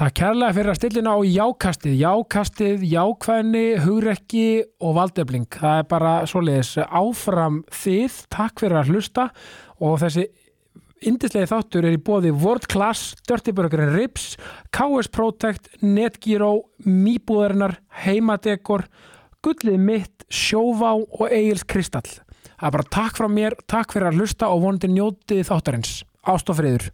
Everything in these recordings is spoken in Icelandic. Takk kærlega fyrir að stillina á jákastið, jákastið, jákvæðni, hugrekki og valdefling. Það er bara svoleiðis áfram þið, takk fyrir að hlusta og þessi indislegi þáttur er í bóði World Class, Dirty Burger and Ribs, KS Protect, Netgyro, Mýbúðarinnar, Heimadekor, Gullið mitt, Sjóvá og Egil's Kristall. Það er bara takk frá mér, takk fyrir að hlusta og vonandi njótið þáttarins. Ástofriður.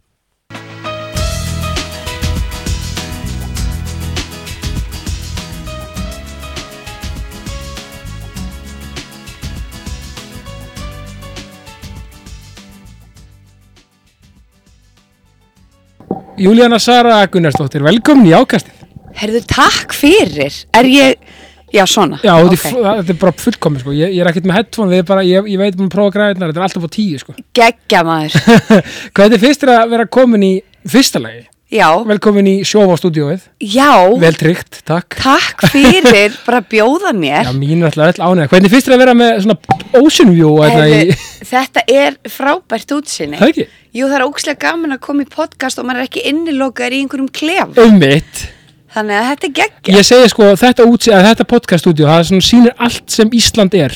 Júlíana Sara Gunnarsdóttir, velkomin í ákastið. Herðu, takk fyrir. Er ég, já svona. Já, ok. okay. þetta er bara fullkomið sko. Ég, ég er ekkert með headphone, við erum bara, ég, ég veit um að prófa græðunar, þetta er alltaf á tíu sko. Geggja maður. Hvernig finnst þér að vera komin í fyrsta lagi? Já, Velkomin í sjóf á stúdíóið. já, Vel tryggt, takk. takk fyrir bara að bjóða Já, mér. mín er alltaf öll ánægð. Hvernig finnst þér að vera með svona ocean view og þetta Herðu, hérna í... þetta er frábært útsinni. Það er ekki? Jú, það er ókslega gaman að koma í podcast og maður er ekki innilokaður í einhverjum klef. Ummitt. Þannig að þetta er geggja. Ég segi sko, þetta, útsi, að þetta podcast stúdíó, það er svona sýnir allt sem Ísland er.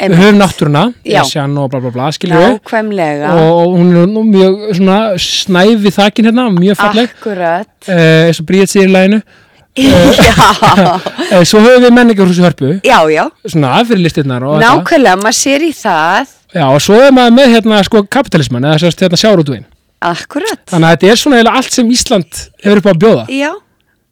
Einmitt. Við höfum náttúruna, Já. Esjan og bla bla bla, skiljum við. Nákvæmlega, og og hún er nú mjög svona snæfi þakin hérna, mjög Ah. falleg akkurat. eh, eins og bríðið sér í læginu já, eh, svo höfum við menningarhúsi hörpu já, já. svona fyrir listirnar og, þetta. Nákvæmlega, maður sér í það. já, og svo er maður með hérna sko kapitalismann eða sérst hérna sjárútvin Akkurat. þannig að þetta er svona eiginlega allt sem Ísland hefur upp á að bjóða Já,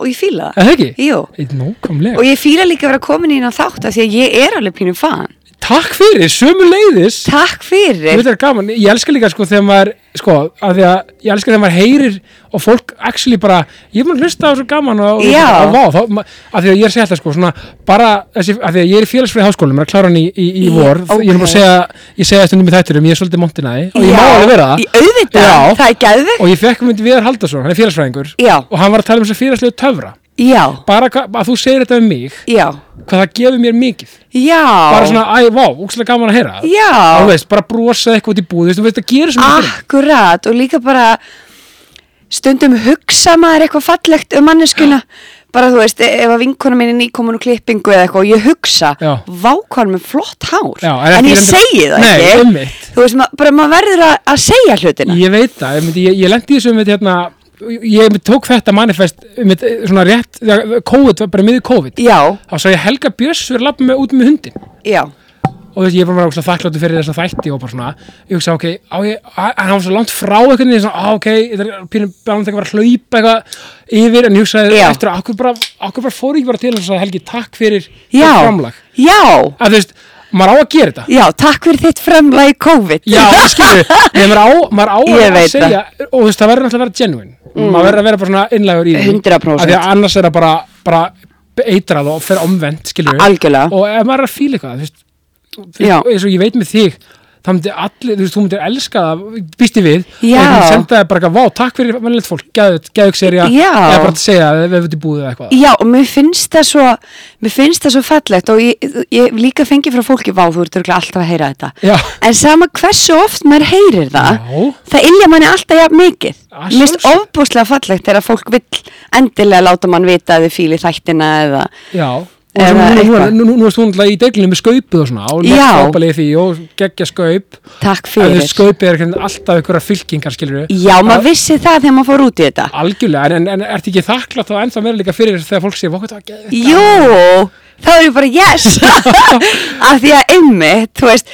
og ég fíla er það. það ekki? Jú. Eitt Nókamlega. Og ég fýla líka að vera komin inn á þátt af því að ég er alveg pínum fan. Takk fyrir, sömu leiðis. Takk fyrir. Þetta er gaman, ég elska líka sko þegar maður, sko, af því að ég elska þegar maður heyrir og fólk actually bara, ég er maður hlusta á svo gaman og, Já. og, og vá, þá, ma- af því að ég er að segja þetta sko, svona, bara, þessi, af því að ég er í félagsfrið háskólanum, maður er að klára hann í, í, í Í- vor, ég er bara ókei. að segja, ég segja stundum í þætturum, ég er svolítið montinæði og ég má Já, alveg vera það. í- Auðvitað, Já. það er gæðvegt. Og ég fekk myndi Viðar Haldarsson, hann er félagsfræðingur Já. og hann var að tala um þessu félagslegu töfra. Já, Bara hva, að þú segir þetta um mig, já, hvað það gefur mér mikið. já. Bara svona, æ, vá, úkslega gaman að heyra það. Þú Já, Ah, veist, bara brosa eitthvað út í búð, þú veist, þú veist, það gerir svona fyrir. akkurat og líka bara stundum hugsa maður eitthvað fallegt um manneskuna. Bara þú veist, ef að vinkona mín er nýkomin úr klippingu eða eitthvað og ég hugsa, Já. vákvæl með flott hár. Já, en ekki en ég reyndir- segi það Nei, ekki. einmitt. Þú veist, ma bara maður verður að, að segja hlutina. Ég veit það, ég, myndi- ég, ég lendi í þessu með hérna, ég einmitt tók þetta manifest með svona rétt, þegar COVID var bara miður COVID. Já, Þá sá ég Helga Björns fyrir að lappa með út með hundin já, og þú veist, ég var bara þakkláttu fyrir þessa þætti og bara svona, ég hugsa, ok, á ég, að- hann var svo langt frá eitthvað, ég svona, á, ok, þetta er pínum bæðan þegar var að hlaupa eitthvað yfir, en ég hugsaði, Já. eftir að, okkur bara, okkur bara fór ég bara til þess að Helgi, takk fyrir þitt já, framlag. já, Að þú veist, maður á að gera þetta. já, takk fyrir þitt framlega í COVID. Já, skilur, ég maður á, maður á Ég að veit segja og þú veist, það verður náttúrulega að vera genuine maður verður að vera bara svona innlægur í því 100%. af því að annars er það bara, bara eitrað og fer omvend, skilur Algjörlega. og ef maður er að fíla eitthvað, þú veist, þú veist Já. og eins og ég veit með þig þá myndi allir, þú veist, þú myndir elska það býst ég við, Já. og þú senda það bara eitthvað, vá, takk fyrir mannlegt fólk, geðug, geðug serja Já. eða bara að segja, við hefum þetta búið eða eitthvað Já, og mér finnst það svo, mér finnst það svo fallegt og ég, ég hef líka fengi frá fólki, vá, þú ert örugglega alltaf að heyra þetta. Já. En sama hversu oft maður heyrir það, Já. það ilja manni alltaf jafn mikið. Að Mér finnst sjálfsögðu. ofbúslega fallegt þegar fólk vill endilega láta mann vita að þið fíli þættina eða, Já, og Eða svo núna, núna, eitthvað. nú- nú, nú erst þú náttúrulega í deglunum með skaupuð og svona og Já. leggfrábalið því og geggja skaup takk að fyrir. þau skaupið er hérna alltaf einhverja fylkingar skilur við Já, maður vissi það þegar maður fór út í þetta. algjörlega, en, en, en ertu ekki þakklátt þá ennþá meira líka fyrir þegar fólk sé vokað að geða Jú, þá er ég bara yes af því að einmitt þú veist,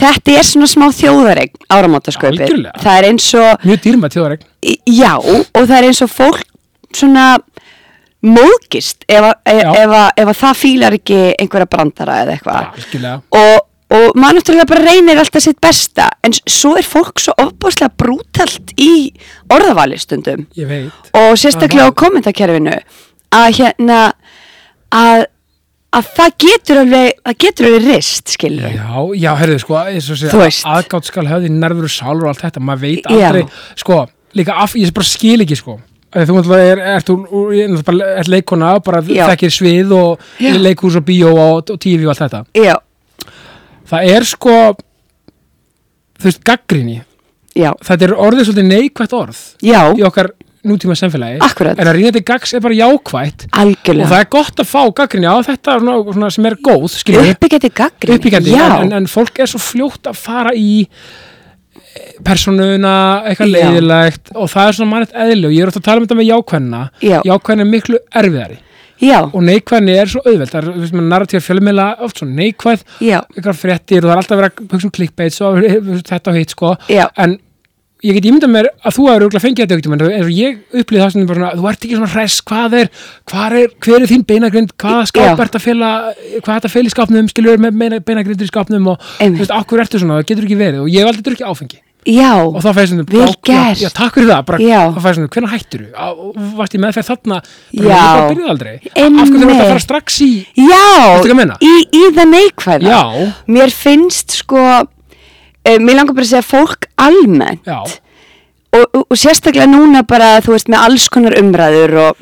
þetta er svona smá þjóðaregn áramótasköpið Algjörlega. það er eins og, mjög dýrma tjóðaregn já og það er eins og fólk svona móðgist ef, að- e, Já. ef, að- ef að það fílar ekki einhverja brandara eða eitthvað algjörlega, og, og maður náttúrulega bara reynir alltaf sitt besta en s- svo er fólk svo ofbáslega brútalt í orðavali stundum ég veit og sérstaklega á kommentakerfinu að hérna að, að það getur alveg það getur alveg rist, skilur Já, já, herðu, sko, eins og Þú segja, veist. aðgátt skal höfði nervur og sálur og allt þetta, maður veit Já. aldrei, sko, líka, af, ég bara skil ekki, sko, Af því þú náttúrulega er, ert úr, úr- ég náttúrulega bara ert leikona og bara Já. þekkir svið og Já. leikhús og bíó og, og tífi og allt þetta. já, Það er, sko, þú veist, gaggrinni, já, þetta er orðið svolítið neikvætt orð já, í okkar nútíma samfélagi Akkúrat. en að rýna til gags er bara jákvætt og það algjörlega er gott að fá gaggrinni á þetta svona, svona sem er góð, skilur við uppbyggjandi gaggrinni uppbyggjandi, já, en, en, en fólk er svo fljótt að fara í personuna, eitthvað Já. leiðilegt og það er svona mannett eðli og ég er oft að tala um þetta með jákvæðina Já. jákvæðin er miklu erfiðari já, og neikvæðin er svo auðveld það er narratíð fjölmiðla oft svona neikvæð já, eitthvað fréttir og það er alltaf að vera að hugsa um clickbait svo þetta og hitt sko já en ég get ímyndað mér að þú hefur örugglega fengið þetta ykkur tímann, eins og ég upplýði það sem bara svona, þú ert ekki svona hress, hvað er, hvað er hver er þín beinagrind, hvaða Já. skáp ert að fela hvað ert að fela í skápnum, skilur með meina- beinagrindir í skápnum og Einmitt. þú veist, okkur ertu svona, það getur ekki verið og ég hef aldrei drukkið áfengi já, og þá fæði svona, Vel já, gert. já, takk fyrir það bara, Já. þá fæði svona, hvernig hættir þú varst ég meðferð þarna, bara, Já. ég bara byrjuð aldrei af hvernig þú ert að Einmitt. fara strax í Veistu hvað ég já meina? í, í það neikvæða já, mér finnst sko eh, mér langar bara að segja fólk almennt já, og, og, og sérstaklega núna bara þú veist með alls konar umræður og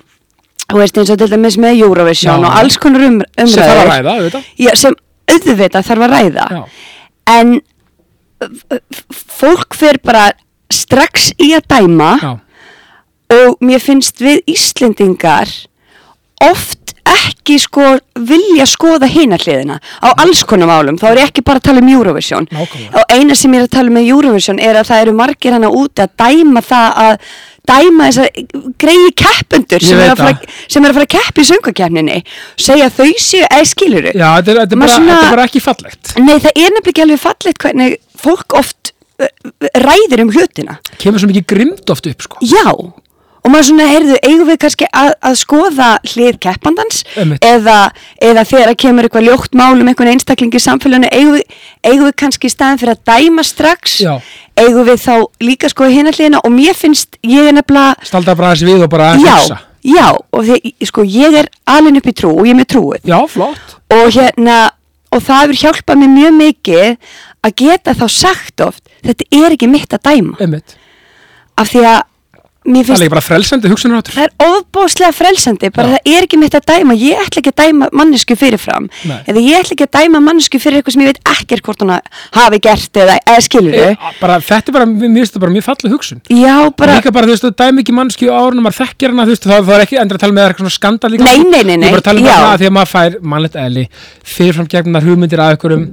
þú veist eins og til dæmis með Eurovision Já. og alls konar umr umræður sem þarf að ræða, auðvitað Já, sem auðvitað þarf að ræða já, en f- f- fólk fer bara strax í að dæma já, og mér finnst við Íslendingar oft ekki sko vilja skoða hinarliðina á alls konar málum, þá er ég ekki bara að tala um Eurovision Nákvæmlega. og eina sem ég er að tala um með Eurovision er að það eru margir hana úti að dæma það að dæma þessar greiði keppendur Ég sem veit eru að, það. fara- sem er að fara að keppa í söngvakeppninni segja að þau séu, eh, eða skiluru já, þetta er- þetta er Maður bara- svona- þetta er bara ekki fallegt Nei, það er nefnilega ekki alveg fallegt hvernig fólk oft uh, ræðir um hlutina. kemur svo mikið grimd oft upp sko Já, og maður svona, heyrðu, eigum við kannski að, að skoða hlið keppandans Einmitt. eða, eða þegar kemur eitthvað ljótt mál um einhvern einstakling í samfélaginu, eigum við, eigum við kannski í staðin fyrir að dæma strax, Já. eigum við þá líka skoða hinn að hliðina og mér finnst, ég er nefnilega staldar bara aðeins við og bara aðeins Já, hugsa. já, og því, sko, ég er alveg upp í trú og ég er með trúið já, flott og hérna og það hefur hjálpað mér mjög mikið að geta þá sagt oft þetta er ekki mitt að dæma einmitt. af því að það er mér finnst líka bara frelsandi hugsunarháttur það er ofbóðslega frelsandi bara Já. það er ekki mitt að dæma ég ætla ekki að dæma mannesku fyrirfram Nei. eða ég ætla ekki að dæma mannesku fyrir eitthvað sem ég veit ekkert hvort hún hafi gert eða, eða skilur E, bara, þetta er bara, mér finnst þetta bara mjög falleg hugsun já bara líka bara, þú veist, þú dæmi ekki mannski á árunum maður þekkir hana, þú veist, það, það er ekki endur að tala með eitthvað svona skandal líka Nei, sko. nei, nei, ég nei, er bara að tala um já. það að því að maður fær mannlegt eðli fyrirfram gegnar hugmyndir að einhverjum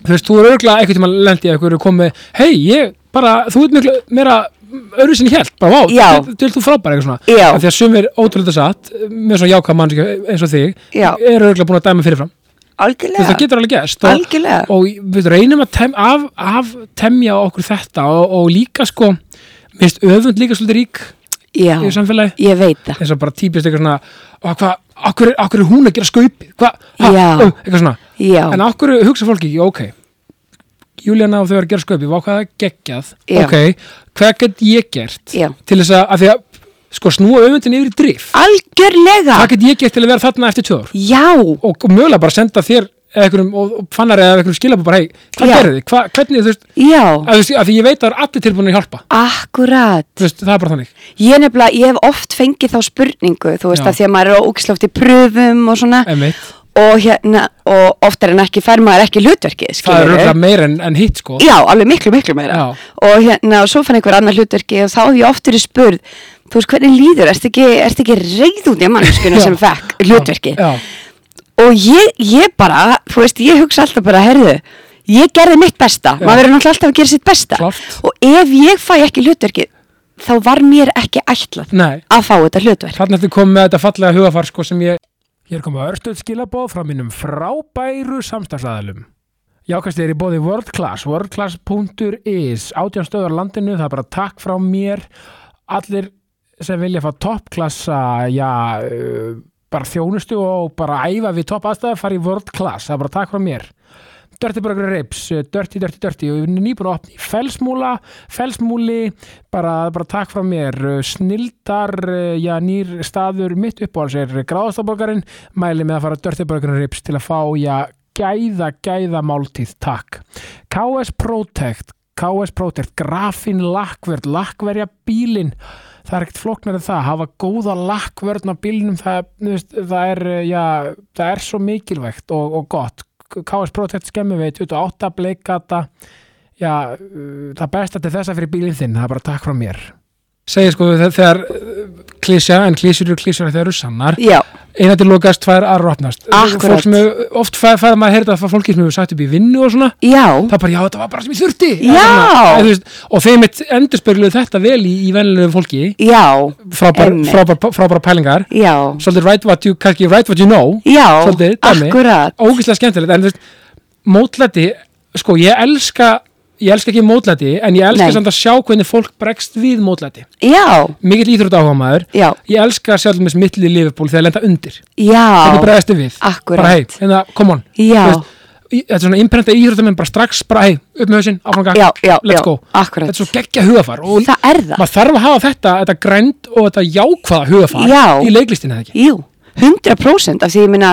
þú veist, þú eru örgulega einhvern tímann lendi að einhverju komið, hei, ég, bara, þú ert miklu meira öðru sinni hjælt, bara, vá, Já. til, til þú frábær eitthvað svona, Já. Af því að sumir ótrúlega satt, með svona jákvæð mannskja eins og þig, Já. eru örgulega búin að dæma fyrirfram Þú veist, það algjörlega getur alveg gæst og, Algjörlega. og við reynum að tem, af, af temja okkur þetta og, og líka sko mist öfund líka svolítið rík já, í samfélagi ég veit það eins og bara típist eitthvað svona og hvað, okkur, okkur er hún að gera skaupi hvað, ha, Já. ó, eitthvað svona Já. en okkur hugsa fólki ekki, ok Júlíana og þau eru að gera skaupi, vá hvað það er geggjað Já. ok, hvað get ég gert Já. til þess að, að því að sko snúa öfundin yfir í drif algjörlega hvað get ég gert til að vera þarna eftir tvö ár já, og, og mögulega bara senda þér eða einhverjum, og, og fannar eða einhverjum skilabú bara, hei, hvað Já. gerði þið, Hva, hvernig þú veist, já, að, þú veist, að því ég veit að það er allir tilbúin að hjálpa, akkurat þú veist, það er bara þannig Ég nefnilega, ég hef oft fengið þá spurningu, þú veist, Já. að því að maður er ógislóft í pröfum og svona Einmitt. og hérna, og oftar en ekki fær maður ekki það hlutverkið, er skilur röglega meira en, en hitt sko, Já, alveg miklu, miklu meira Já. og hérna, og svo fann einhver annar hlutverki og þá hef ég oft verið spurð, þú veist, hvernig líður, ertu ekki, ertu ekki reyð út í mannskuna Já. sem fekk hlutverkið já, og ég, ég bara, þú veist, ég hugsa alltaf bara, herðu, ég gerði mitt besta, maður verður náttúrulega alltaf að gera sitt besta Klárt. og ef ég fæ ekki hlutverkið, þá var mér ekki ætlað nei að fá þetta hlutverk. Þannig ertu komið með þetta fallega hugafar sko sem ég Hér koma örstuð skilabóð frá mínum frábæru samstagsæðalum Jákast er í bóði World Class worldclass.is átján stöðar á landinu, það er bara takk frá mér allir sem vilja fá toppklassa já, uh, bara þjónustu og bara æfa við topp aðstæða fara í World Class, það er bara takk frá mér Dirty Burger Rips, eh, Dirty, Dirty, Dirty og við erum nýbúin að opna í felsmúla felsmúli, bara, bara takk frá mér eh, snildar eh, já, nýr staður mitt uppáhalds er gráðastaborgarinn, mæli með að fara á Dirty Burger Rips til að fá já, gæða, gæða máltíð, takk KS Protect KS Protect, grafin lakkverð lakkverja bílinn það er ekkert flóknar en það, hafa góða lakkvörn á bílnum, það, þú veist, það er eh, já, það er svo mikilvægt og, og gott, KS Protect skemmi við 28 eh, bleikata já, uh, það besta til þessa fyrir bílinn þinn, það er bara takk frá mér segir sko þe- þegar eh, klisja, en klísjur eru klísjur þegar eru sannar, já, einandi lokast, tvær aðra opnast. Akkúrat. Fólk sem hefur, oft fæ- fæða maður að heyrða það fólki sem hefur sætt upp í vinnu og svona, já, það er bara, já, þetta var bara sem ég þurfti. Já. Svona, eh, þú veist, og þeim endurspegluðu þetta vel í, í venlulegu fólki, já, frábæra Einmitt. frábær, frábær pælingar, já, svolítið write what you, kannski write what you know, já, svolítið, dæmi. akkurat, ógeðslega skemmtilegt en þú veist, mótlæti sko, ég elska ég elska ekki mótlæti, en ég elska Nei. samt að sjá hvernig fólk bregst við mótlæti já, mikill íþrótt áhuga maður já, ég elska sjálfum þess mittli lifiból þegar lenda undir já, hvernig bregðast þið við, Akkúrat. bara hei, hérna, come on já, Þú veist, í- þetta er svona innprenta íþróttamenn bara strax, bara hei, upp með hausinn, áfram gang já, já, let's já, go. þetta akkurat, er svo geggja hugafar og það er það, maður þarf að hafa þetta, þetta grænd og þetta jákvaða hugafar Já. í leiklistinni eða ekki jú, 100% af því ég minna,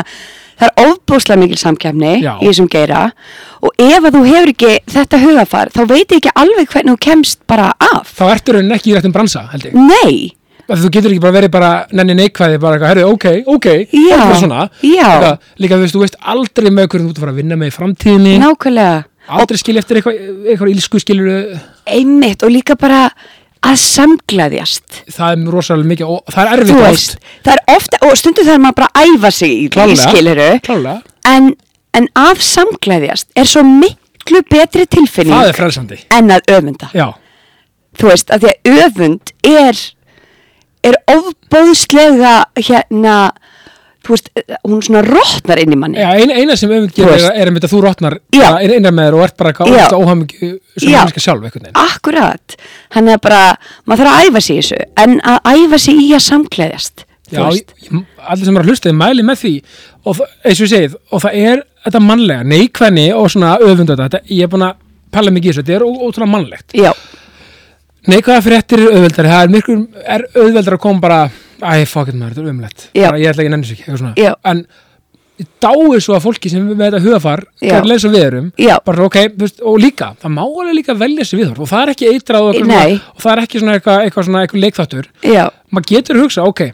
það er ofbúslega mikil samkefni Já. í þessum geira og ef að þú hefur ekki þetta hugafar þá veit ég ekki alveg hvernig þú kemst bara af, þá ertu raunin ekki í réttum bransa, held Mm. ég nei, að þú getur ekki bara verið bara nenni neikvæði bara eitthvað, herri, ok, ok Já, bara svona, já. Eitthvað, líka þú veist, þú veist aldrei með hverju þú ert að fara að vinna með í framtíðinni nákvæmlega. aldrei skilja eftir eitthvað, eitthvað ílsku skilur einmitt og líka bara að samglaðjast það er rosalega mikið og það er þú erfitt veist, það er ofta og stundum þarf maður bara að æfa sig í því Klárlega. skiliru Klárlega. en, en af samglaðjast er svo miklu betri það tilfinning er frelsandi en að öfunda já, þú veist, að því að öfund er er ofbóðslega hérna þú veist, eh, hún svona rótnar inn í manni já ein, eina sem öfund Þú gerir veist. er, er einmitt að þú rotnar Já. bara inn- innan með þér og ert bara Já. eitthvað óhamingju sem Já. mannska sjálf einhvern veginn akkurat, hann er bara maður þarf að æfa sig í þessu en að æfa sig í að samglaðjast þú Já, veist, ég- ég- allir sem eru að hlusta, ég mæli með því og það- eins og ég segið, og það er þetta mannlega, neikvæðni og svona öfundu þetta, ég er búin að pæla mikið í þessu, þetta er ó- ótrúlega mannlegt já, Neikvæða fréttir eru auðveldari, það er myrkur er auðveldari að koma bara Æ, fuck it maður, þetta er umlegt Já. Bara, Ég ætla ekki að nenni sig, eitthvað svona Já. En ég dái svo að fólki sem er með þetta hugafar Já. Hvernig leins og við erum Já. bara, okay, þú veist, Og líka, það má alveg líka velja sér viðhorf Og það er ekki eitrað og, eitthvað Nei. svona, og það er ekki svona eitthvað, eitthvað, svona eitthvað leikþáttur já Maður getur hugsa, ok Ég,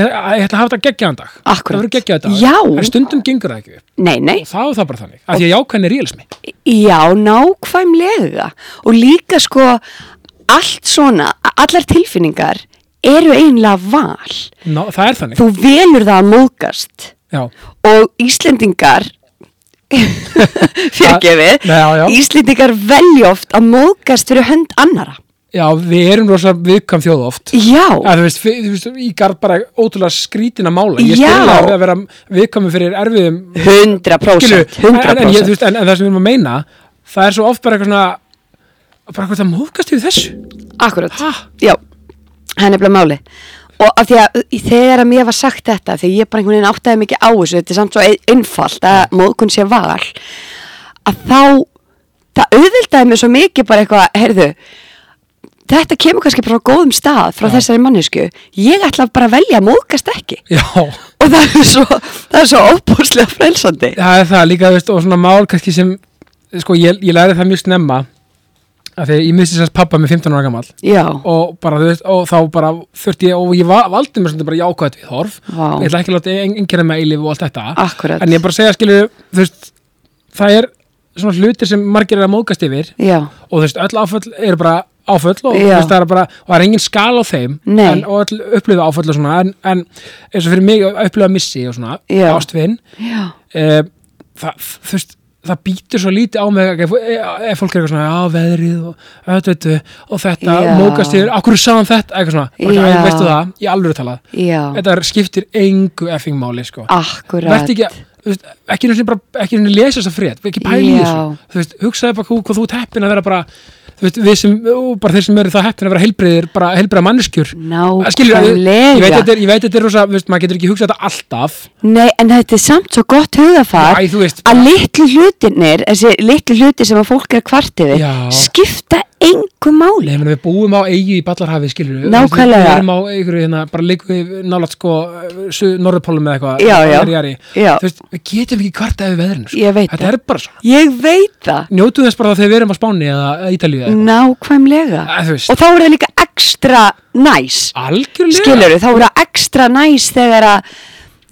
ég ætla að hafa þetta geggjaðan dag Akkúrat. Það verður geggjaðan dag Já. En stundum gengur það ekki upp Nei, nei, Og það er það bara þannig Af því að jákvæðin er realismi já, nákvæmlega og líka sko allt svona, allar tilfinningar eru eiginlega val Ná, Það er þannig þú velur það að móðgast Já, og Íslendingar fyrirgefið Já, já. Íslendingar velja oft að móðgast fyrir hönd annara Já við erum rosa viðkvæm þjóð oft Já, Já, þú veist, fi- þú veist, ég garð bara ótrúlega skrítina mála. Ég Já. skilja að vera viðkvæmi fyrir erfiðum, 100% en, en, en, ég, þú 100% veist, en, en það sem við erum að meina, það er svo oft bara eitthvað svona, bara eitthvað það móðgast yfir þessu. Akkurat, Ha? já, það er nefnilega máli og af því að þegar að mér var sagt þetta þegar ég bara einhvern veginn áttaði mikið á þessu þetta er samt svo einfalt að móðkun sé val að þá það auðvildaði mér svo mikið bara eitthvað, heyrðu þetta kemur kannski bara á góðum stað frá Já. þessari mannesku ég ætla bara að velja að móðkast ekki Já, og það er svo, það er svo óbúslega frelsandi það er það líka, þú veist, og svona mál kannski sem, sko, ég, ég læri það mjög snemma, af því að ég misti sérst pappa með 15 ára gamall já, og bara, þú veist, og þá bara þurfti ég, og ég va- valdi mér svona bara jákvæðt við horf, Vá. ég ætla ekki að láta einhverja með eilif og allt þetta. akkurat En ég er bara að segja, skilju, þú veist, það er svona hlutir sem margir er að móðgast yfir já, og þú veist, öll áföll eru bara áföll og þú Já. veist, það er bara, og það er engin skala á þeim Nei. en, og öll upplifa áföll og svona en, en eins og fyrir mig að upplifa missi og svona, Já. ástvinn já, e, það, þú veist, það býtur svo lítið á mig ef, ef fólk er eitthvað svona, já, veðrið og, öðvöldu, og þetta, Já. móðgast yfir akkur er saman þetta, eitthvað svona, bara, Já. æ, veistu það, í alvöru talað já þetta er, skiptir engu effing máli, sko akkurat verði ekki að þú veist, ekki einhvern bara, ekki einhvern veginn lesa þessa frétt ekki pæli í Já. þessu, þú veist, hugsaði bara hvað, hvað þú ert heppin að vera bara þú veist, við sem, ó, bara þeir sem eru það heppin að vera heilbreyðir, bara heilbreyða manneskjur Að skilur, ég, ég veit Nákvæmlega þetta er, ég veit þetta er rosa, þú veist, maður getur ekki hugsað þetta alltaf Nei, en þetta er samt svo gott hugafar Æ, þú veist, að litlu hlutinir, þessi litlu hluti sem að fólk er kvart yfir, Já. skipta engu máli. leifin, við búum á eigi í ballarhafi, skilur við, Nákvæmlega. við erum á einhverju, hérna, bara leikum við nálat sko, suð- norðurpólum eða eitthvað Já, já. jari, jari. Já. þú veist, við getum ekki kvartað við veðrinu, sko. Ég veit þetta er bara svona Ég veit það, njótu þess bara þegar við erum á Spáni eða eða Ítalíu eða eitthvað. nákvæmlega. Að, þú veist. Mm. Og þá er það líka ekstra næs, algjörlega skilur þá er það ekstra næs þegar að,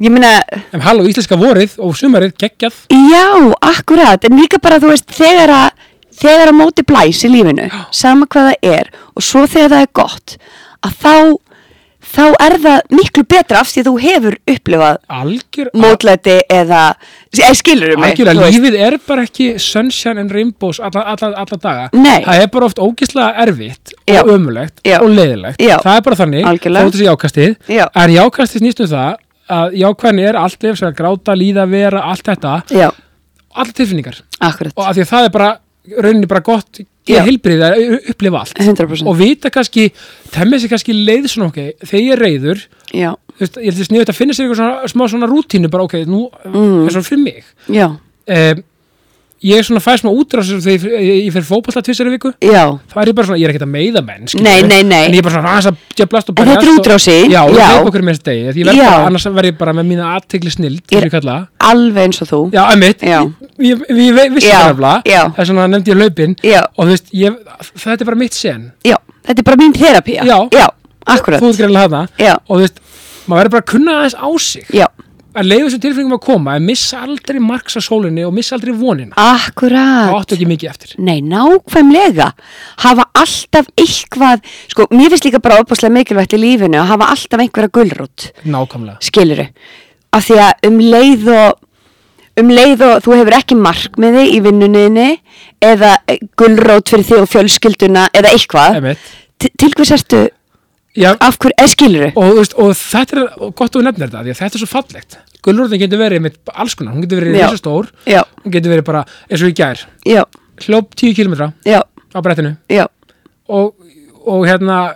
ég meina, En halló, íslenska vorið og sumarið geggjað já, akkurat, en líka bara, þú veist, þegar að, þegar að móti blæs í lífinu, sama hvað það er, og svo þegar það er gott, að þá, þá er það miklu betra af því að þú hefur upplifað algjör, mótlæti eða, eða skilur um mig algjörlega, þú veist. lífið er bara ekki sunshine and rainbows alla, alla, alla daga Nei. það er bara oft ógislega erfitt Já. og ömulegt Já. og leiðilegt Já. það er bara þannig, Algjörlega. þóttu sér jákastið Já. en jákastið snýstum það að jákvæðin er allt lefs að gráta, líða, vera, allt þetta Já, allar tilfinningar og akkurat, af því að það er bara rauninni bara gott Já. ég heilbrið að upplifa allt 100% og vita kannski, þemmið sér kannski leið svona ok, þegar ég er reyður Já, þú veist, ég held að sniðu að finna sér eitthvað svona, smá svona rútínu bara ok, nú Mm. er svona fyrir mig já, um, ég er svona fæst maður útrásur þegar ég, ég fer fótballta tvisari viku já þá er ég bara svona, ég er ekkert að meiða menn skilur Nei, við. nei, nei. en ég er bara svona aðeins að djöblast og En þetta er berjast og- útrásin, já, og já. hleypa okkur með þessi degi því ég verð Já. bara, annars verð ég bara með mína aðtegli snild Ég- sem ég kalla það. Alveg eins og þú Já, einmitt, Já. ég, ég, ég ve- vissi Já, það nefnilega, já. þess vegna nefndi ég hlaupin Já. og þú veist, ég, þetta er bara mitt sen, Já, þetta er bara mín terapía Já. já þú akkurat ert greinlega hana Já. og þú veist, maður verður bara að kunna aðeins á sig, Já, að leiða þessum tilfinningum að koma, en missa aldrei margs að sólinni og missa aldrei vonina, akkurat það áttu ekki mikið eftir. Nei, nákvæmlega hafa alltaf eitthvað sko, mér finnst líka bara opaslega mikilvægt í lífinu að hafa alltaf einhverja gulrút Nákvæmlega, skiluru af því að um leið og um leið og þú hefur ekki markmiði í vinnuninni eða eh, gulrót fyrir þig og fjölskylduna eða eitthvað einmitt. T- til hvers ertu, Já, af eh, hverju, eða skiluru og, þú veist, og þetta er og gott að þú nefnir þetta, því að þetta er svo fallegt. Gullrúðin getur verið með alls konar, hún getur verið Já. reysa stór, já, hún getur verið bara eins og í gær, já, hljóp 10 kilometra já, á brettinu já og, og hérna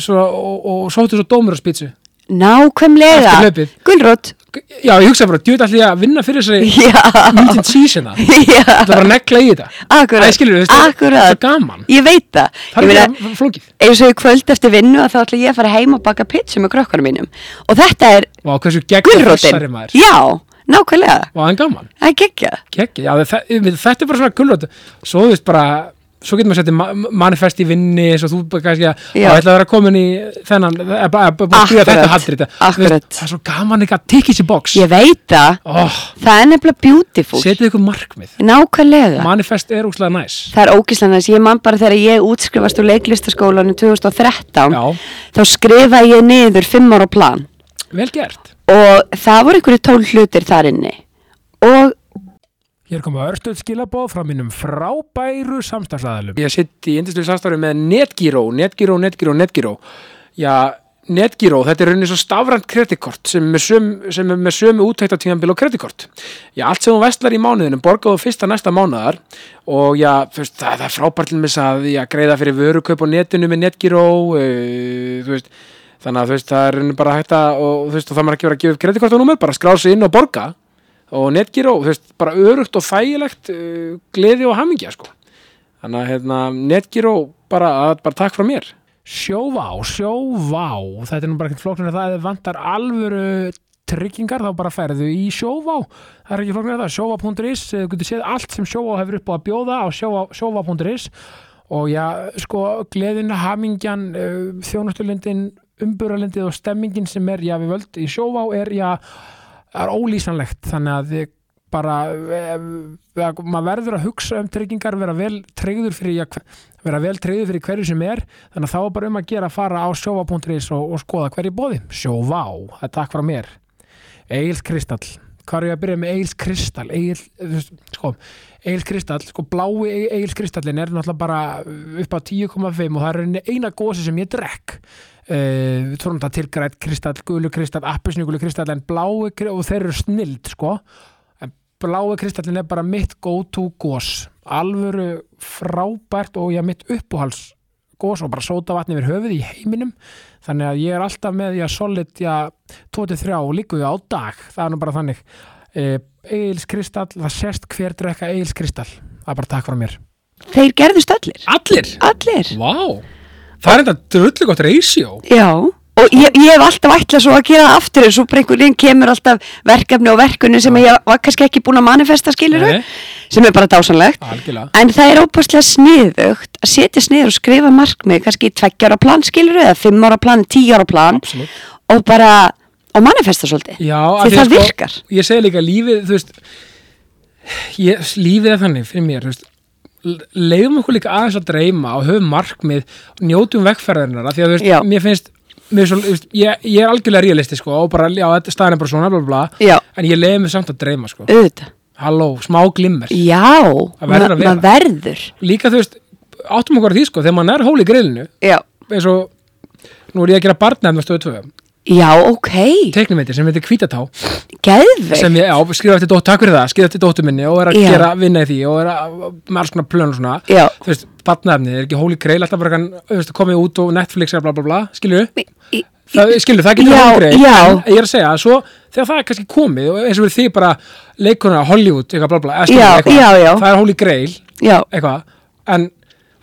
svo, og, og sóttu svo dómur á spítsu nákvæmlega, Eftir hlaupið. gulrót já, ég hugsa bara, djúið ætli ég að vinna fyrir þessari já, myndin tísina það já er bara að negla í þetta akkurat, Mm. Æ, skilurðu, veist, akkurat. þetta er gaman. ég veit það, það ég er meina- ekki flókið eins og í kvöld eftir vinnu að þá ætla ég að fara heim og baka pizza með krökkunum mínum og þetta er og hversu gegn þessari gulrótin maður já, nákvæmlega, og það er gaman það er geggjað Kekki, já, þe- við- þetta er bara svona gulrót svo þú veist bara svo getur maður setið ma- manifest í vinni svo þú bara kannski að Já. það ætla að vera komin í þennan það er bara- bara- bara að skrifa Akkurat, þetta haldrið akkurat. það er svo gaman ekki að tikið sér box Ég veit það, oh, það er nefnilega beautiful setið ykkur markmið Nákvæmlega manifest er úrslega næs Það er ógíslega næst, ég man bara þegar ég útskrifast úr leiklistaskólanum 2013 Já. þá skrifaði ég niður fimm ára plan vel gert og það voru einhverju tól hlutir þar inni og Hér koma örstuð skilabóð frá mínum frábæru samstagsæðalum. Ég sitt í yndislu samstarfi með Netgyro, Netgyro, Netgyro, Netgyro. Já, Netgyro, þetta er rauninni svo stafrænt kreditkort sem er með sömu, sem er með sömu úttæktatíðanbíl og kreditkort. Já, allt sem hún vestlar í mánuðinu borgaðu fyrsta næsta mánuðar og já, þú veist, það, það er frábært til með að já, greiða fyrir vörukaup á netinu með Netgyro, uh, þú veist, þannig að þú veist, það er rauninni bara hægt að, og þú veist, og það maður ekki verið að gefa upp kreditkort og númer, bara skrá sig inn og borga og Netgyro, þú veist, bara örugt og þægilegt uh, gleði og hamingja sko. þannig að hérna, Netgyro bara, að, bara takk frá mér Sjóvá, sjóvá þetta er nú bara ekkert flóknir það ef þið vantar alvöru tryggingar þá bara ferðu í sjóvá það er ekki flóknir það, sjóvá.is eh, þú getur séð allt sem sjóvá hefur upp á að bjóða á sjóvá- sjóvá.is og já, sko, gleðin, hamingjan uh, þjónustulindin, umburalindið og stemmingin sem er, já, við völd í sjóvá er, já, það er ólýsanlegt þannig að þið bara eh, eh, maður verður að hugsa um tryggingar vera vel tryggður fyrir ja, hver- vera vel tryggður fyrir hverju sem er þannig að þá er bara um að gera að fara á sjóva.is og, og skoða hverju bóði sjóvá, það er takk frá mér Egil Kristall hvað er ég að byrja með Egil Kristall Egil, sko, Egil Kristall sko, blái E- Egil Kristallin er náttúrulega bara upp á 10,5 og það er rauninni eina gósi sem ég drekk uh, við tónum það til grætt kristall, gulu kristall appisnugulu kristall en blái kri- og þeir eru snild sko en blái kristallin er bara mitt go to gós alvöru frábært og ég mitt uppáhals gós og bara sóta vatni yfir höfuð í heiminum þannig að ég er alltaf með já, solid já, 23 og líku á dag það er nú bara þannig eh, Egils kristall, það sést hver drekka Egils kristall, það er bara takk frá mér þeir gerðust allir Allir? Allir, Vá, það er enda drullu gott reysjó já Og ég, ég hef alltaf ætlað svo að gera það aftur en svo bara einhvern veginn kemur alltaf verkefni og verkunni sem ég var kannski ekki búin að manifesta skiluru Nei. sem er bara dásanlegt Algjörlega En það er óbúslega sniðugt að setja sniður og skrifa markmið, kannski tveggjára plan skilur eða fimm ára plan, tíu ára plan Absolutt. og bara, og manifesta svolítið. Já, af Því að það sko, virkar. Ég segi líka lífið, þú veist ég, Lífið er þannig fyrir mér, þú veist leiðum okkur líka aðeins að dreyma og höfum markmið, njótum vegferðarinnar af því að þú Já. veist, mér finnst mér svo, þú veist, ég, ég er algjörlega realisti sko og bara, já, þetta staðan er bara svona bla, bla, bla, Já. en ég leiði mig samt að dreyma sko auðvitað halló, smá glimmer já, verður að ma- maður verður líka þú veist, áttum okkur á því sko þegar maður er hóli grillinu já, eins og, nú er ég að gera barnæfn á stöðu 2, já, ok teiknumindir sem heitir Kvítatá geðveikt, sem ég, já, skrifa eftir dóttu, takk fyrir það skrifa eftir dóttu minni og er að Já. gera vinna í því og er að, með alls konar plön og svona Já. þú veist, barnæfni, er ekki hóli grill alltaf bara kann, þú veist, komið út og Netflix er bla bla bla, skilju Í- Það, skilur, það getur Já, alveg greið já. en ég er að segja að svo þegar það er kannski komið og eins og verið þið bara leikuna Hollywood eitthvað bla bla eða skilur, Já, eitthvað, já, já. það er holy grail já, eitthvað en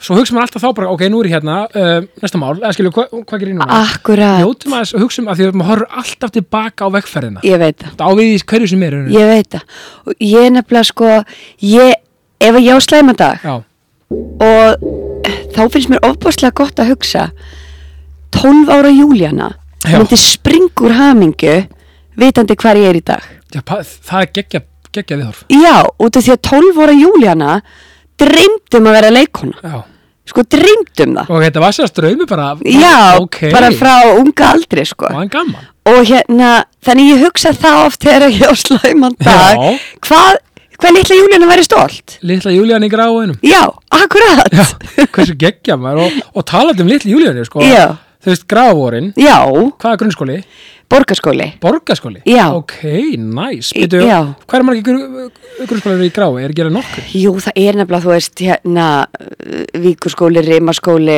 svo hugsa maður alltaf þá bara ok, nú er ég hérna uh, næsta mál eða skilur, hva, hvað gerir ég Ah, núna? akkurat Njótum aðeins og hugsum að um, því að maður horfur alltaf tilbaka á vegferðina ég veit það Þetta á við í hverju sem er rauninni. Ég veit það. Og Ég er nefnilega sko, ég, ef ég á slæma dag Já, og eh, þá finnst mér ofbáslega gott að hugsa 12 ára Júlíana Já. myndi springur hamingu vitandi hvar ég er í dag. já, pa- það er geggja, geggja viðhorf Já, út af því að 12 ára Júlíana dreymdum að vera leikona. Já. Sko dreymdum það. og þetta var sér að strömi bara Já, ok, bara frá unga aldri sko. og hann gaman og hérna, þannig ég hugsa það oft þegar ég á slæman dag Já. hvað, hvað litla Júlíana væri stolt? litla Júlían í gráinum Já, akkurat Já, hversu geggja maður og, og talandi um litli Júlíani sko. Já. Þú veist, grávorin, Já, hvað er grunnskóli? borgarskóli. Borgaskóli? Já. Ok, næs. Nice. Býtu, já. hvað er margir gru, grunnskólar í grái? Er ekki alveg nokkur? Jú, það er nefnilega, þú veist, hérna, uh, víkurskóli, rimaskóli,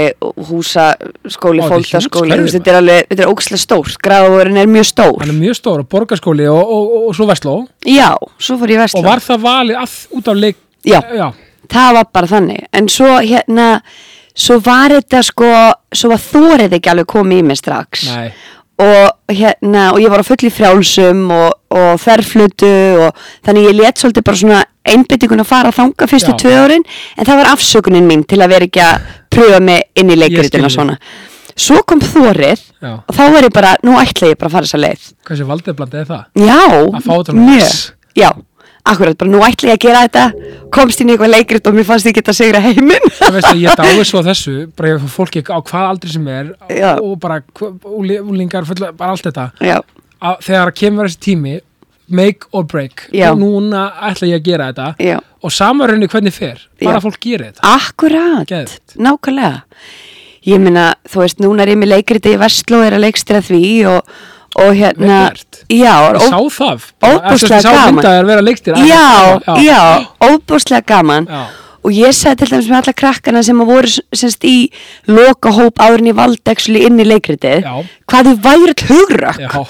húsaskóli, Ó, þetta er fóltaskóli, hjúts þú veist, hverfi þetta er alveg, þetta er ókslega stórt, gráðurinn er mjög stór. Hann er mjög stór, borgaskóli og, og, og, og svo vestló. Já, svo fór ég vestlum. Og var það valið að, út af leik? Já. Já, Það var bara þannig, en svo hérna, svo var þetta sko, svo var þórið ekki alveg komið í mig strax. Nei. Og hérna, og ég var á fulli frjálsum og, og ferflutu og þannig ég let svolítið bara svona einbyttingun að fara að þanga fyrstu Já. tvö árin, en það var afsökunin mín til að vera ekki að pröfa mig inn í leikritina Ég skil svona. Svo kom þórið Já. og þá var ég bara, nú ætla ég bara að fara þessa leið. hversu valdið blandaði það? Já, Að fá þetta með mjög X. Já, akkurat, bara nú ætla ég að gera þetta komst inn í eitthvað leikrit og mér fannst ég geta að segra heiminn Það veist að ég dáið svo að þessu, bara ég fólki á hvað aldri sem er Já. og bara hva- úli- úlingar, fulla, bara allt þetta. Já, Að, þegar kemur þessi tími, make or break, Já. núna ætla ég að gera þetta Já. og samarunni hvernig fer, bara Já. að fólk gerir þetta. akkurat Geðveikt. Nákvæmlega Ég meina, þú veist, núna er ég með leikriti í Vestló er að leikstira því og, og hérna Vel gert. Já, Ég og- sá það óbúslega Ég sá gaman. myndað að vera leikstir já, já, óbúslega gaman Já. og ég sagði til dæmis með alla krakkana sem að voru semst í loka hóp árin í valdekslu inn í leikritið Já. hvað þau væri all hugrökk Já.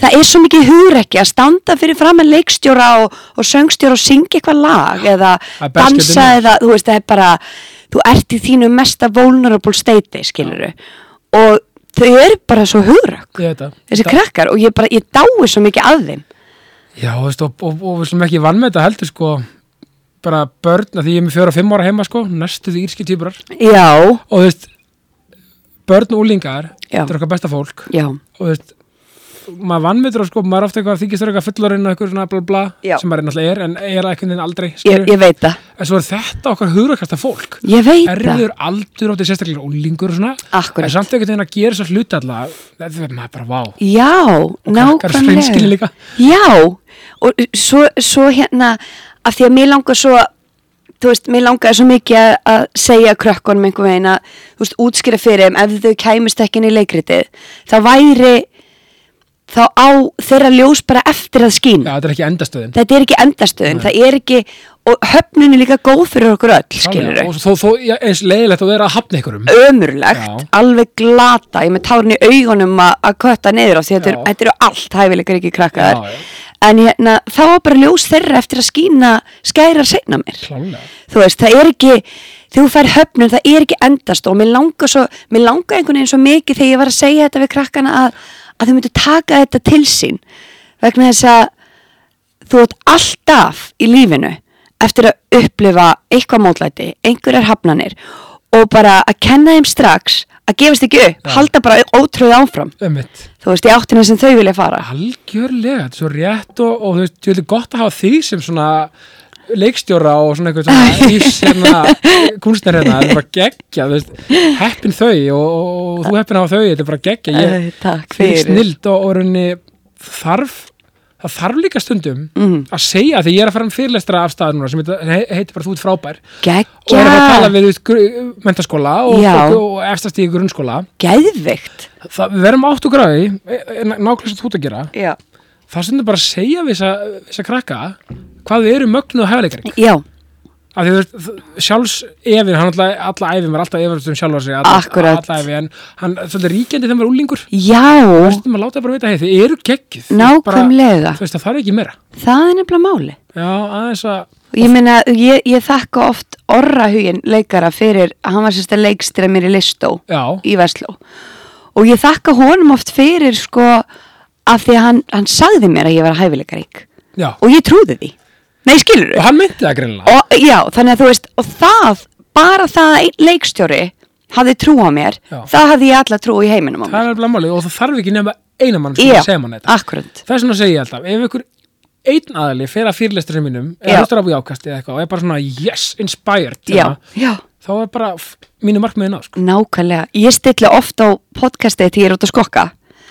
það er svo mikið hugrekki að standa fyrir fram en leikstjóra og, og söngstjóra og syngja eitthvað lag eða Það er best dansa getur eða þú veist það er bara þú ert í þínu mesta vulnerable state skiluru og þau eru bara svo hugrökk Ég veit það. þessi Da- krakkar og ég bara, ég dái svo mikið að þeim Já, þú veist, og, og, og við slum ekki vann með þetta heldur sko bara börn, að því ég er með fjóra og fimm ára heima sko næstuð írski týpurar já, og þú veist, börn og úlingar Já. þetta er okkar besta fólk já, og þú veist, maður vann með þetta sko maður er ofta eitthvað, þykist þurfa eitthvað fullorinn og eitthvað svona bla bla, Já. sem maður náttúrulega er en er eitthvað aldrei, ég, skilur ég veit það en svo er þetta okkar hugrakasta fólk Ég veit það. erfiður aldur átti sérstaklega úlingur og svona Akkurat. en samt ekkert einhvern veginn að gera þess að hluta alltaf þetta er maður bara vá Já, krakkar hreinskilni nákvæmlega. líka. Já, og svo, svo hérna, af því að mér langar svo, þú veist, mér langar svo mikið að- að segja krökkunum einhvern veginn að, þú veist, útskýra fyrir þeim ef þau kæmust ekki inn í leikritið, þá væri, þá á þeirra ljós bara eftir að skína. Já, þetta er ekki endastöðin Þetta er ekki endastöðin, það er ekki, og höfnun er líka góð fyrir okkur öll, skilur Og þó, þó já, eins leiðilegt að vera að hafna ykkurum ömurlegt, Já. alveg glata ég er með tárin í augunum a- að kötta niður á því þetta, er, Já. þetta eru allt hæfileikar ekki krakkaðar Já, já. en hérna, þá var bara ljós þeirra eftir að skína skærar seinna mér Klálega þú veist, það er ekki þegar þú fær höfnun, það er ekki endast og mér langar, svo, mér langar einhvern veginn svo mikið þegar ég var að segja þetta við krakkana að, að þau myndu taka þetta til sín vegna þess að þú ert alltaf í lífinu eftir að upplifa eitthvað mótlæti, einhverjar hafnanir og bara að kenna þeim strax að gefast ekki upp, halda bara ótröð ánfram, Ömmit þú veist, í áttina sem þau vilja fara Algjörlega, þetta er svo rétt og, og þú veist, ég veldi gott að hafa þig sem svona leikstjóra og svona eitthvað svona ís hérna, kunstnir hérna, þetta er bara geggja þú veist, heppin þau og, og þú heppin á þau, þetta er bara geggja ég Æ, Takk fyrir Eh, fyrir snild og orðinni þarf það þarf líka stundum Mhm. að segja því ég er að fara um fyrirlestra af stað núna sem heita- he- heitir bara þú ert frábær og er að tala Geggja, við mentaskóla og, Já. og, og efstastíði grunnskóla geðveikt það, við verum átt og gráði nákvæmlega sem þú ert að gera Já, það er stundum bara að segja við þess að krakka hvað við erum mögnuð og hæfileikari já af því þú veist, þ- sjálfs efin hann alltaf, alla æfin var alltaf efast um sjálfa sig alla, Akkúrat. alla æfi, en hann er svolítið ríkjandi þegar maður er úlingur Já, maður láta bara vita, hey, þið eru geggjuð Þið bara- nákvæmlega þú veist það þarf ekki meira Það er nefnilega máli já, aðeins að Ég meina, ég, ég þakka oft orrahugin leikara fyrir að hann var sérst að leikstýra mér í listó já, í Vestló og ég þakka honum oft fyrir sko af því að hann, hann sagði mér að ég var hæfileikarík já, og ég trúði því Nei, skilur og hann myndi það greinlega og, Já, þannig að þú veist og það, bara það að einn leikstjóri hafði trú á mér Já. það hafði ég alla trú í heiminum á mér það er blamáli og það þarf ekki nefna eina mann sem Já, segja mann þetta akkurat það er svona að segja alltaf, ef ykkur einn aðli fer að fyrirlesturinn mínum Já. eða hlustar á jákast eða eitthvað og er bara svona yes, inspired Já, hérna, já þá er bara f- mínu markmiðin á sko. Nákvæmlega, ég stilla oft á podcastið þegar ég er út að skokka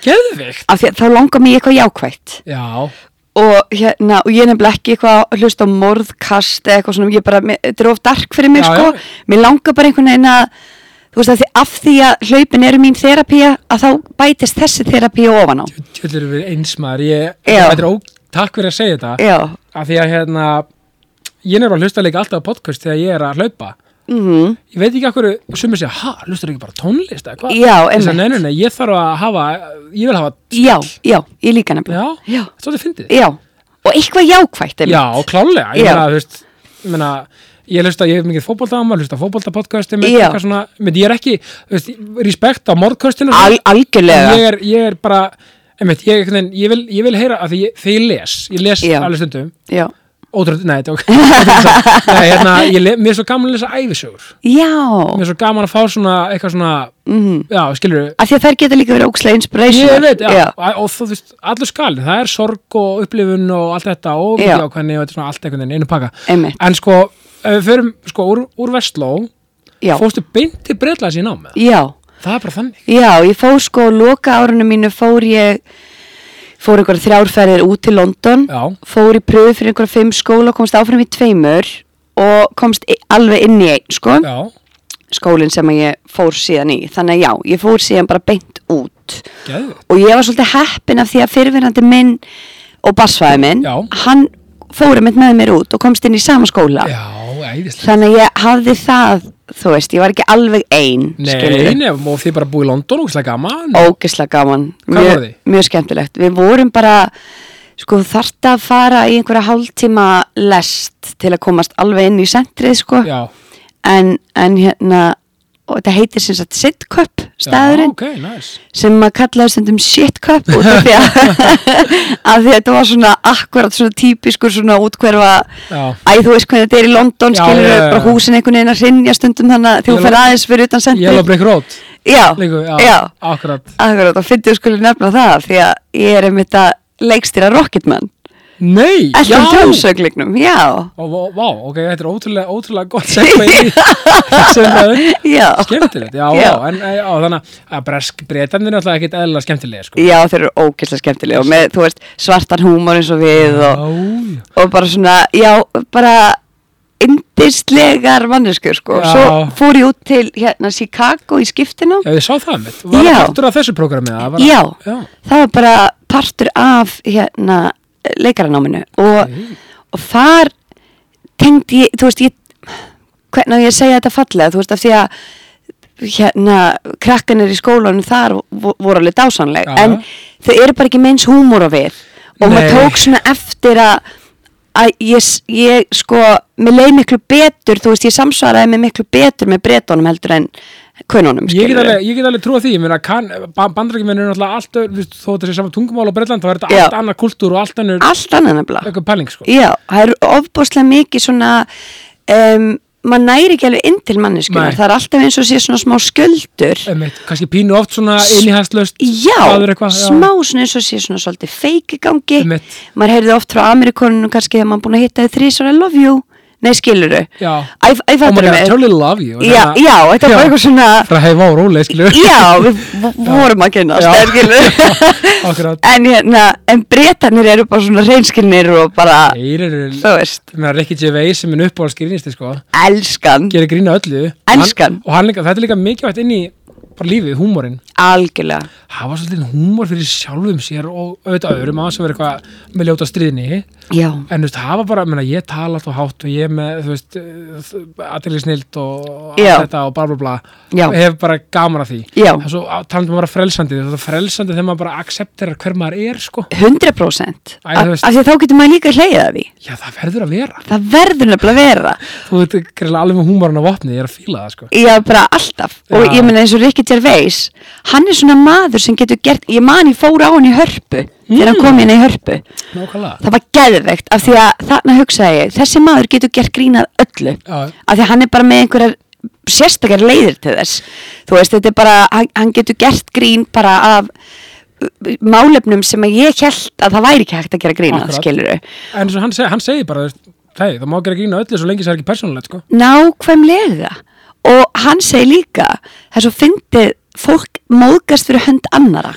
geðvikt af því að þá langar mér í eitthvað jákvætt já, og, hérna, og ég er nefnilega ekki eitthvað að hlusta á morðkast eða eitthvað svona, ég bara, mér- þetta er of dark fyrir mér Já, sko, já. mér langar bara einhvern veginn að þú veist að því af því að hlaupin eru mín terapía að þá bætist þessi terapía ofan á tjöllur við eins maður ég, Já. þetta er ó, takk fyrir að segja þetta Já, af því að hérna ég er að hlusta líka alltaf á podcast þegar ég er að hlaupa mm ég veit ekki af hverju sumir segja, ha, hlustar ekki bara á tónlist eða hvað? Já, Ég sagði, einmitt. nei, nei, nei, ég þarf að hafa ég vil hafa, já, já, ég líka já, nefnilega Já. þetta er fyndið Já, og eitthvað jákvætt einmitt. já, klálega, ég Já. meina, þú veist ég meina, ég hlusta, ég hef mikið fótbolta á maður hlusta fótbolta podcast, ég Já. meina, eitthvað svona menn, ég er ekki, þú veist, respekt á morgkostinu Al algjörlega ég er, ég er bara einmitt, ég, einhvern veginn- ég, vil, ég vil heyra að því ég, þegar ég les, ég les Já. alveg stundum Já, ótrúð, nei, þetta ok nei, hérna, ég, le- mér er svo gaman að lesa æfisögur já. mér er svo gaman að fá svona, eitthvað svona Mhm. já, skilur af því að þær geta líka verið ókslega inspiration Ég veit, já, og, og þú veist, allur skali, það er sorg og upplifun og allt þetta og Já. mikið ákveðni og þetta er svona allt einhvern veginn einu pakka. Einmitt. En sko, ef við förum sko úr, úr Vestló, já. fórstu beint til breyðlaðs í námið. já, Það er bara þannig. já, ég fór sko loka árunum mínu fór ég fór einhver þrjárferðir út til London Já, fór í pröfu fyrir einhver fimm skóla komst áfram í tveimur og komst í- alveg inn í einn sko já, skólinn sem að ég fór síðan í þannig að já, ég fór síðan bara beint út geðvögt. og ég var svolítið heppin af því að fyrirverandi minn og bassfæði minn Já. hann fór einmitt með mér út og komst inn í sama skóla Já, æðislega. þannig að ég hafði það þú veist, ég var ekki alveg ein Nei, skilurðu. nei, og þið bara búið í London og slag gaman. ógislega gaman Hvað mjög, voru þið? mjög skemmtilegt við vorum bara sko þarft að fara í einhverja hálftíma lest til að komast alveg inn í sentrið sko Já, en, en hérna og þetta heitir sem sagt sitcup já, staðurinn ok, nice. sem maður kallaði stundum shitcup út af því að, að því að þetta var svona akkurat svona típiskur svona útkverfa Já, Æ, þú veist hvernig þetta er í London, Já, skilur já, já, já. bara húsin einhvern veginn að rinja stundum þannig að þú Yellow- fer aðeins fyrir utan sentrið Yellow Brick Road, Já, líku, já, já, akkurat. Akkurat, og fyndið skulle nefna það því að ég er einmitt að leikstýra Rocketman Nei, Elton Johnsöglingnum, já Ó, vá, vá, ok, þetta er ótrúlega, ótrúlega gott segma í þessu Já, skemmtilegt, já, Já. já, en eh, já, þannig að bresk breytandir er náttúrulega ekkit eðlilega skemmtilega, sko. já þeir eru ógeðslega skemmtilega og með, þú veist, svartan húmor eins og við og, Já, og bara svona, já, bara indislegar manneskur sko, Já. svo fór ég út til hérna Chicago í skiptinu já, ég sá það mitt. Var Já. það partur af þessu prógramið? það var- Já. Já, það var bara partur af hérna leikaranáminu og, og þar tengdi ég, þú veist, ég hvernig á ég að segja þetta fallega, þú veist, af því að hérna, krakkanir í skólanum þar vo- voru alveg dásanleg Já. en þau eru bara ekki meins húmór á við Nei. og maður tók svona eftir að að ég, s- ég sko mér leið miklu betur, þú veist, ég samsvaraði mig miklu betur með bretunum heldur en kununum, ég get alveg, ég get alveg trúa því, ég meina, bandrækjumenn eru náttúrulega allt, öðru- þú veist, þó þetta sé saman tungumál og breytland, þá er þetta Já. allt annað kultúr og allt annur allt annað nefnilega sko. eitthvað pæling, sko. Já, það eru ofbúslega mikið svona um, maður næri ekki alveg inn til manneskunar Nei. það er alltaf eins og sé svona smá sköldur Einmitt, kannski pínu oft svona innihæstlust já, það er eitthvað, já. smá svona eins og sé svona svolítið feik í gangi Einmitt. maður heyrði oft frá Amerikonunum kannski þegar maður búin að hitta þið þrý svona I love you nei skiluru, Já. Oh æ, æ, my fattarðu god, I mig? totally hérna. love you já, já, þetta var bara eitthvað svona Frá heima og róli, skilju já, við v- vorum að kynna Já. skiluru Akkurat en hérna, en breytanir eru bara svona reynskinnir og bara Þeir eru þú veist, Ég meina, Ricky Gervais sem minn uppáhalds grínisti sko elskan gerir grína öllu Elskan. Hann- og hann líka, þetta er líka mikilvægt inn í bara lífið, húmorinn algjörlega hafa svolítið húmor fyrir sjálfum sér og auðvitað öðrum að sem er eitthvað með ljóta stríðni en já, þú veist, hafa bara, menna, ég tala alltaf hátt og ég er með, þú veist, eh, aðeins snilt og allt Já. þetta og bla bla bla Já. og hef bara gaman af því Já. það er svo talandum að vera frelsandi þetta er frelsandi þegar maður bara accepterar hver maður er sko, Æ, þú 100% af veist- af því að þá getur maður líka hleyða því já það verður að vera það verður nefnilega að vera þú veit, greið alveg með húmorinn á vopni, ég er að fíla það sko já, bara alltaf og Já. ég meina eins og Ricky Gervais hann er svona maður sem getur gert ég man ég fór á hann í hörpu þegar hann Hmm. kom hérna í hörpu nákvæmlega, það var geðveikt af því að þarna hugsaði ég þessi maður getur gert grínað öllu Já. af því að hann er bara með einhverjar sérstakar leiðir til þess þú veist þetta er bara, hann, hann getur gert grín bara af uh, málefnum sem að ég held að það væri ekki hægt að gera grínað Akkurat. skiluru en eins og hann, seg, hann segir bara, þú veist, hei, það má gera grína öllu svo lengi sem það er ekki persónulegt sko nákvæmlega og hann segir líka það er svo fyndið fólk móðgast fyrir hönd annara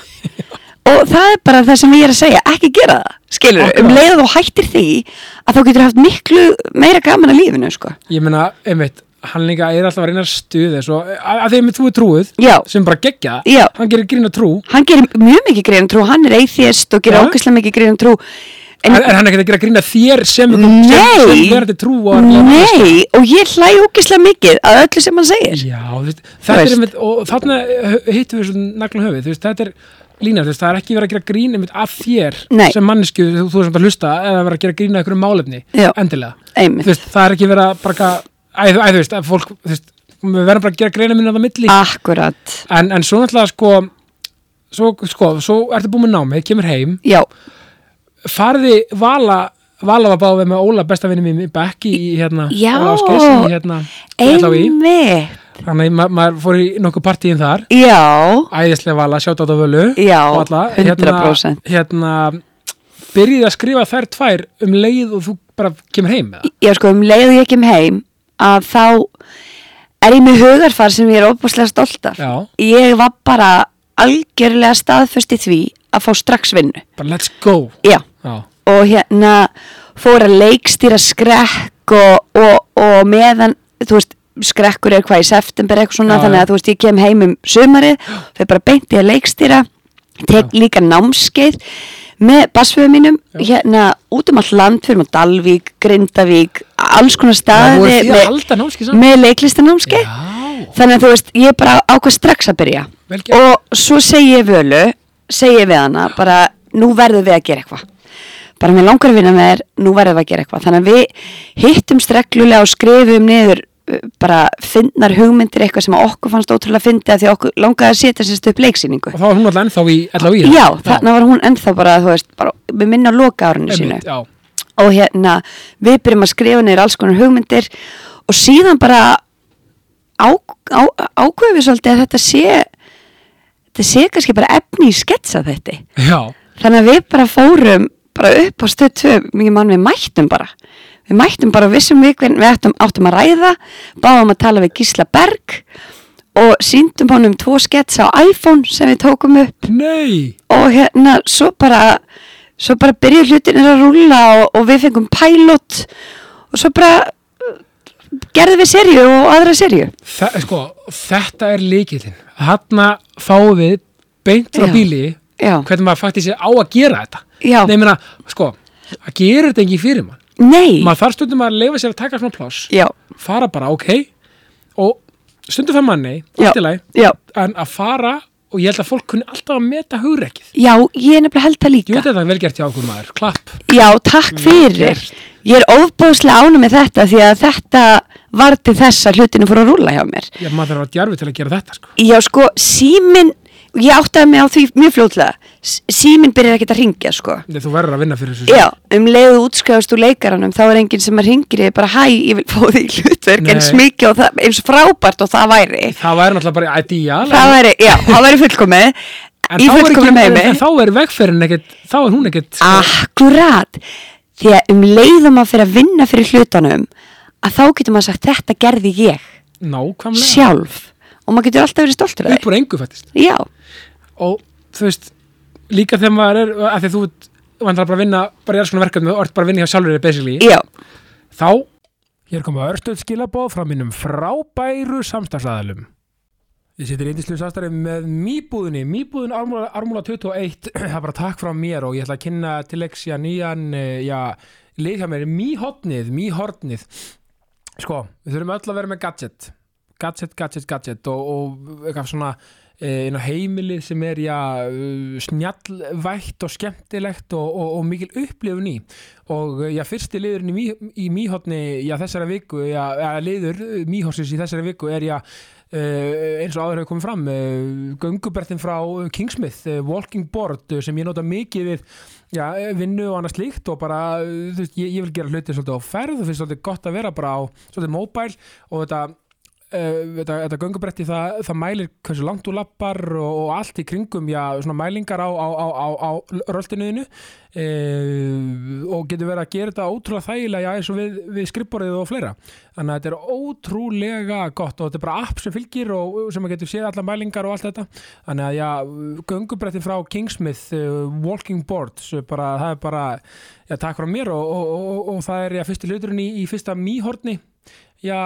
og það er bara það sem ég er að segja ekki gera það, skilur, um Akkurat. leiða þú hættir því að þá getur haft miklu meira gaman að lífinu, sko Ég meina, einmitt, hann líka er alltaf að reyna að stuði svo, að að því að þú er trúið Já. sem bara geggja, Já. hann gerir grína trú hann gerir mjög mikið greiðan trú, hann er atheist og gerir Já. ókvæslega mikið greiðan trú en, en en hann er ekkert að gera grína þér sem Nei. sem, sem verður trú á nei, og ég hlæ ókvæslega mikið að öllu sem hann segir Já, þú veist, Þú þetta veist. er einmitt og þarna eh, hö- hittum við svona nagla höfuð þú veist, þetta er lína, þú veist, það er ekki verið að gera grína einmitt að þér Nei. sem mannesku þú, þú er sem bara að hlusta eða verið að gera grína einhverjum málefni, Já. endilega Einmitt. þú veist, það er ekki verið að bara að, æ, þú veist, að fólk, þú veist við verðum bara að gera greina minna það milli akkurat, en, en svo náttúrulega sko svo, sko, svo ertu búin með námið, kemur heim já, farði Vala Vala var báðið með Óla besta vinni mín í bekk í í, hérna Já. Óla Ásgeirs í, hérna, LHÍ. einmitt þannig að ma maður fór í nokkuð partíin þar já, æðislega Vala, sjátt á þetta völu Já, og alla, 100%. hérna, hérna byrjið að skrifa þær tvær um leið og þú bara kemur heim með það já sko um leið og ég kem heim að þá er ég með hugarfar sem ég er óbúslega stolt af Já. ég var bara algjörlega staðföst í því að fá strax vinnu bara let's go já. Já, og hérna fór að leikstýra skrekk og, og, og meðan þú veist skrekkur er hvað í september eitthvað Já, svona þannig já. að þú veist ég kem heim um sumarið fyrir bara beint í að leikstýra tek líka námskeið með basföðu mínum hérna út um all land fyrir maður Dalvík, Grindavík alls konar það voru því staði að með, halda námski saman með leiklistanámskeið Já, þannig að þú veist, ég bara ákvað strax að byrja Vel gert. og svo segi ég völu segi ég við hana, bara nú verðum við að gera eitthvað bara mér langar að vinna með þér, nú verðum við að gera eitthvað þannig að við hittum streglulega og skrifum niður uh, bara fyndnar hugmyndir eitthvað sem okkur fannst ótrúlega fyndið af því að okkur langaði að setja sérst upp leiksýningu og þá var hún alltaf ennþá í LHÍ já, þannig var hún ennþá bara, þú veist, bara við minna á loka árinu sínu Einmitt, já. og hérna við byrjum að skrifa neyra alls konar hugmyndir og síðan bara á, á, ákveðum við svolítið að þetta sé þetta sé kannski bara efni í sketsa þetta Já. þannig að við bara fórum bara upp á stöð 2, mikið mann við mættum bara við mættum bara og vissum við hvern við áttum, áttum að ræða báðum að tala við Gísla Berg og síndum honum tvo sketsa á iPhone sem við tókum upp Nei og hérna svo bara svo bara byrjuð hlutinir að rúlla og, og við fengum pilot og svo bara uh, gerðum við serju og aðra serju Þa, sko, þetta er líkilinn Hanna fáum við beint frá Já. bíli Já. hvernig maður faktist á að gera þetta Já. Nei, ég meina, sko, að gera þetta ekki fyrir mann nei, maður þarf stundum að leifa sér að taka svona pláss já, fara bara, ok og stundum fyrir manni, já, allt í lagi já en að fara, og ég held að fólk kunni alltaf að meta hugrekkið já, ég er nefnilega held það Jú, líka þetta er vel gert hjá okkur maður, klapp já, takk fyrir gert. ég er ofbúðslega ánum með þetta því að þetta var til þess að hlutinu fór að rúlla hjá mér Já, maður þarf að djarfi til að gera þetta, sko Já, sko, símin, ég áttaði mig á því mjög fljótlega, síminn byrjar ekkert að ringja sko Nei, þú verður að vinna fyrir þessu Já, um leiðu útskjáðast úr leikaranum þá er enginn sem að ringir þig bara hæ, ég vil fá því hlutverk Nei. eins mikið og það, eins frábært og það væri Það væri náttúrulega bara ideal það væri, já, það væri fullkomið en, í þá er ekki- fullkomnum heimi en þá er vegferðin ekkert Þá er hún ekkert sko, Akkurat Því að um leiðum að fyrir að vinna fyrir hlutanum að þá getur maður sagt þetta gerði ég nákvæmlega sjálf og maður getur alltaf verið stoltur af Upp úr engu fættist því Já, Og þú veist, líka þegar maður er af Því að þú vantar bara að vinna Bara í alls svona verkefni og ert bara að vinna hjá sjálfur þér, basically já, Þá, hér koma örstuð skilabóð frá mínum frábæru samstagsæðalum. Ég seti reyndislu samstarið með Mýbúðinni, Mýbúðin Armúla, Armúla 21, það er bara takk frá mér og ég ætla að kynna til leksja nýjan, eh, já, lið hjá mér, Mýhotnið, Mýhornið. Sko, við þurfum öll að vera með gadget, gadget, gadget, gadget og, og eitthvað svona eh, inn á heimilið sem er, já, eh, snjallvætt og skemmtilegt og, og, og mikil upplifun í og eh, já, fyrsti liðurinn í, Mí- í Míhotni já, þessara viku, já, já, liður Míhorsis í þessara viku er já Uh, eins og áður hefur komið fram uh, göngubertin frá Kingsmith uh, Walking Board uh, sem ég nota mikið við já, eh, vinnu og annað slíkt og bara, uh, þú veist, ég, ég vil gera hluti svolítið á ferð og finnst svolítið gott að vera bara á svolítið mobile og þetta uh, þetta, þetta göngubretti það, það mælir hversu langt þú lappar og, og allt í kringum já, svona mælingar á, á, á, á, á röltinuðinu uh, og getur verið að gera þetta ótrúlega þægilega já, eins og við, við skrifborðið og fleira þannig að þetta er ótrúlega gott og þetta er bara app sem fylgir og sem maður getur séð allar mælingar og allt þetta þannig að já, göngubretti frá Kingsmith uh, Walking Boards uh, bara, það er bara, já, takk frá mér og, og, og, og, og það er já, fyrsti hluturinn í, í fyrsta mýhorni já,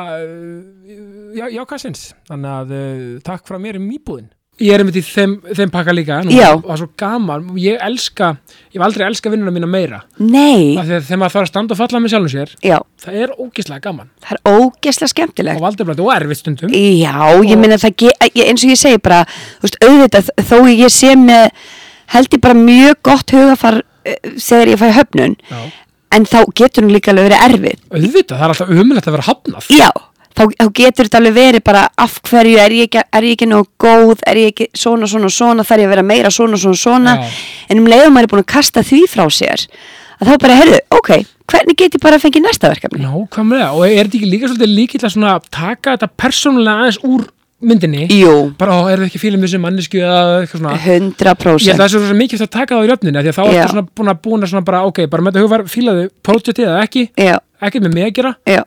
eh, já, já kassins þannig að uh, takk frá mér um íbúðin ég er einmitt í þeim, þeim pakka líka nú, Já. og það er svo gaman, ég elska ég hef aldrei elska vinnuna mína meira nei af því að þegar maður þarf að standa og falla með sjálfum sér Já, það er ógislega gaman það er ógeðslega skemmtilegt og valdeblætt og erfitt stundum Já, ég minna það ge- ég- eins og ég segi bara, þú veist, auðvitað þó ég sé með, held ég bara mjög gott hugafar eh, þegar ég fæ höfnun, Já. en þá getur hún líka alveg verið erfið. auðvitað, það er alltaf umulegt að vera hafnað Já, þá, þá getur þetta alveg verið bara af hverju er ég ekki, er ég ekki nóg góð, er ég ekki svona, svona, svona, þarf ég að vera meira svona, svona, svona, Já. en um leiðum maður er búin að kasta því frá sér, að þá bara, heyrðu, ok, hvernig get ég bara að fengi næsta verkefni? nákvæmlega, og er þetta ekki líka svolítið líkilega svona að taka þetta persónulega aðeins úr myndinni Jú, bara, ó, er það ekki fílum þessu mannesku eða eitthvað svona 100%. Ég held að það er svo mikið að taka það í röfninu því að þá Já. ertu svona búin að búin að svona bara ok, bara með þetta hugvar, fílaðu projektið eða ekki Já, ekkert með mig að gera, já,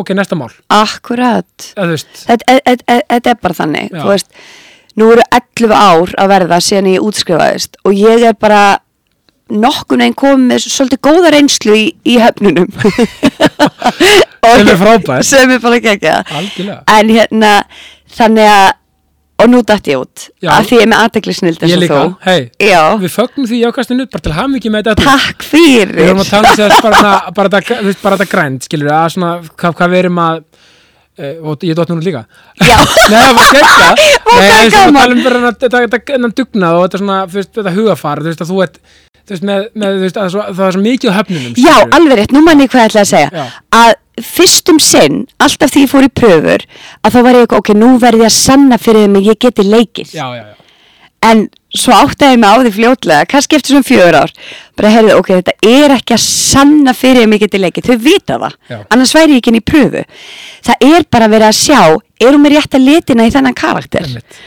ok, næsta mál akkurat. eða þú veist, Þetta- Þetta þetta- þetta er bara þannig, Já. þú veist, nú eru 11 ár að verða síðan ég útskrifaðist og ég er bara nokkun einn komið með svolítið góða reynslu í, í höfnunum. Sem er frábært. Sem er bara geggjað. algjörlega En hérna, þannig að, og nú dætt ég út, Já. af því ég er með aðdeglisnild eins ég og líka, þú. hei, Já, við fögnum því jákastinu bara til hafum ekki með þetta öll. takk fyrir. við erum að tala sér bara, svona- bara, þetta- þú veist, bara þetta grænt, skilur að svona, hvað, hvað við erum að e, og ég dótt núna líka Já, Nei, það var gegga Vá, Nei, eins hvað og við gaman. talum bara um þetta- þetta þetta dugnað og þetta svona, þú veist, þetta hugafar þú veist, að þú ert, þú veist, með, með þú veist, að það er svo- það er svo mikið á höfnunum Já, skilurðu. alveg rétt, nú mann ég hvað ég ætla að segja Já. að fyrstum sinn, alltaf því ég fór í pröfur að þá var ég, ok, nú verði ég að sanna fyrir þeim að ég geti leikið já, já, já en svo áttaði ég mig á því fljótlega kannski eftir svona fjögur ár bara heyrðu, ok, þetta er ekki að sanna fyrir þeim að ég geti leikið, þau vita það Já. annars væri ég ekki inn í pröfu það er bara verið að sjá, erum við rétt að litina í þennan karakter Einmitt.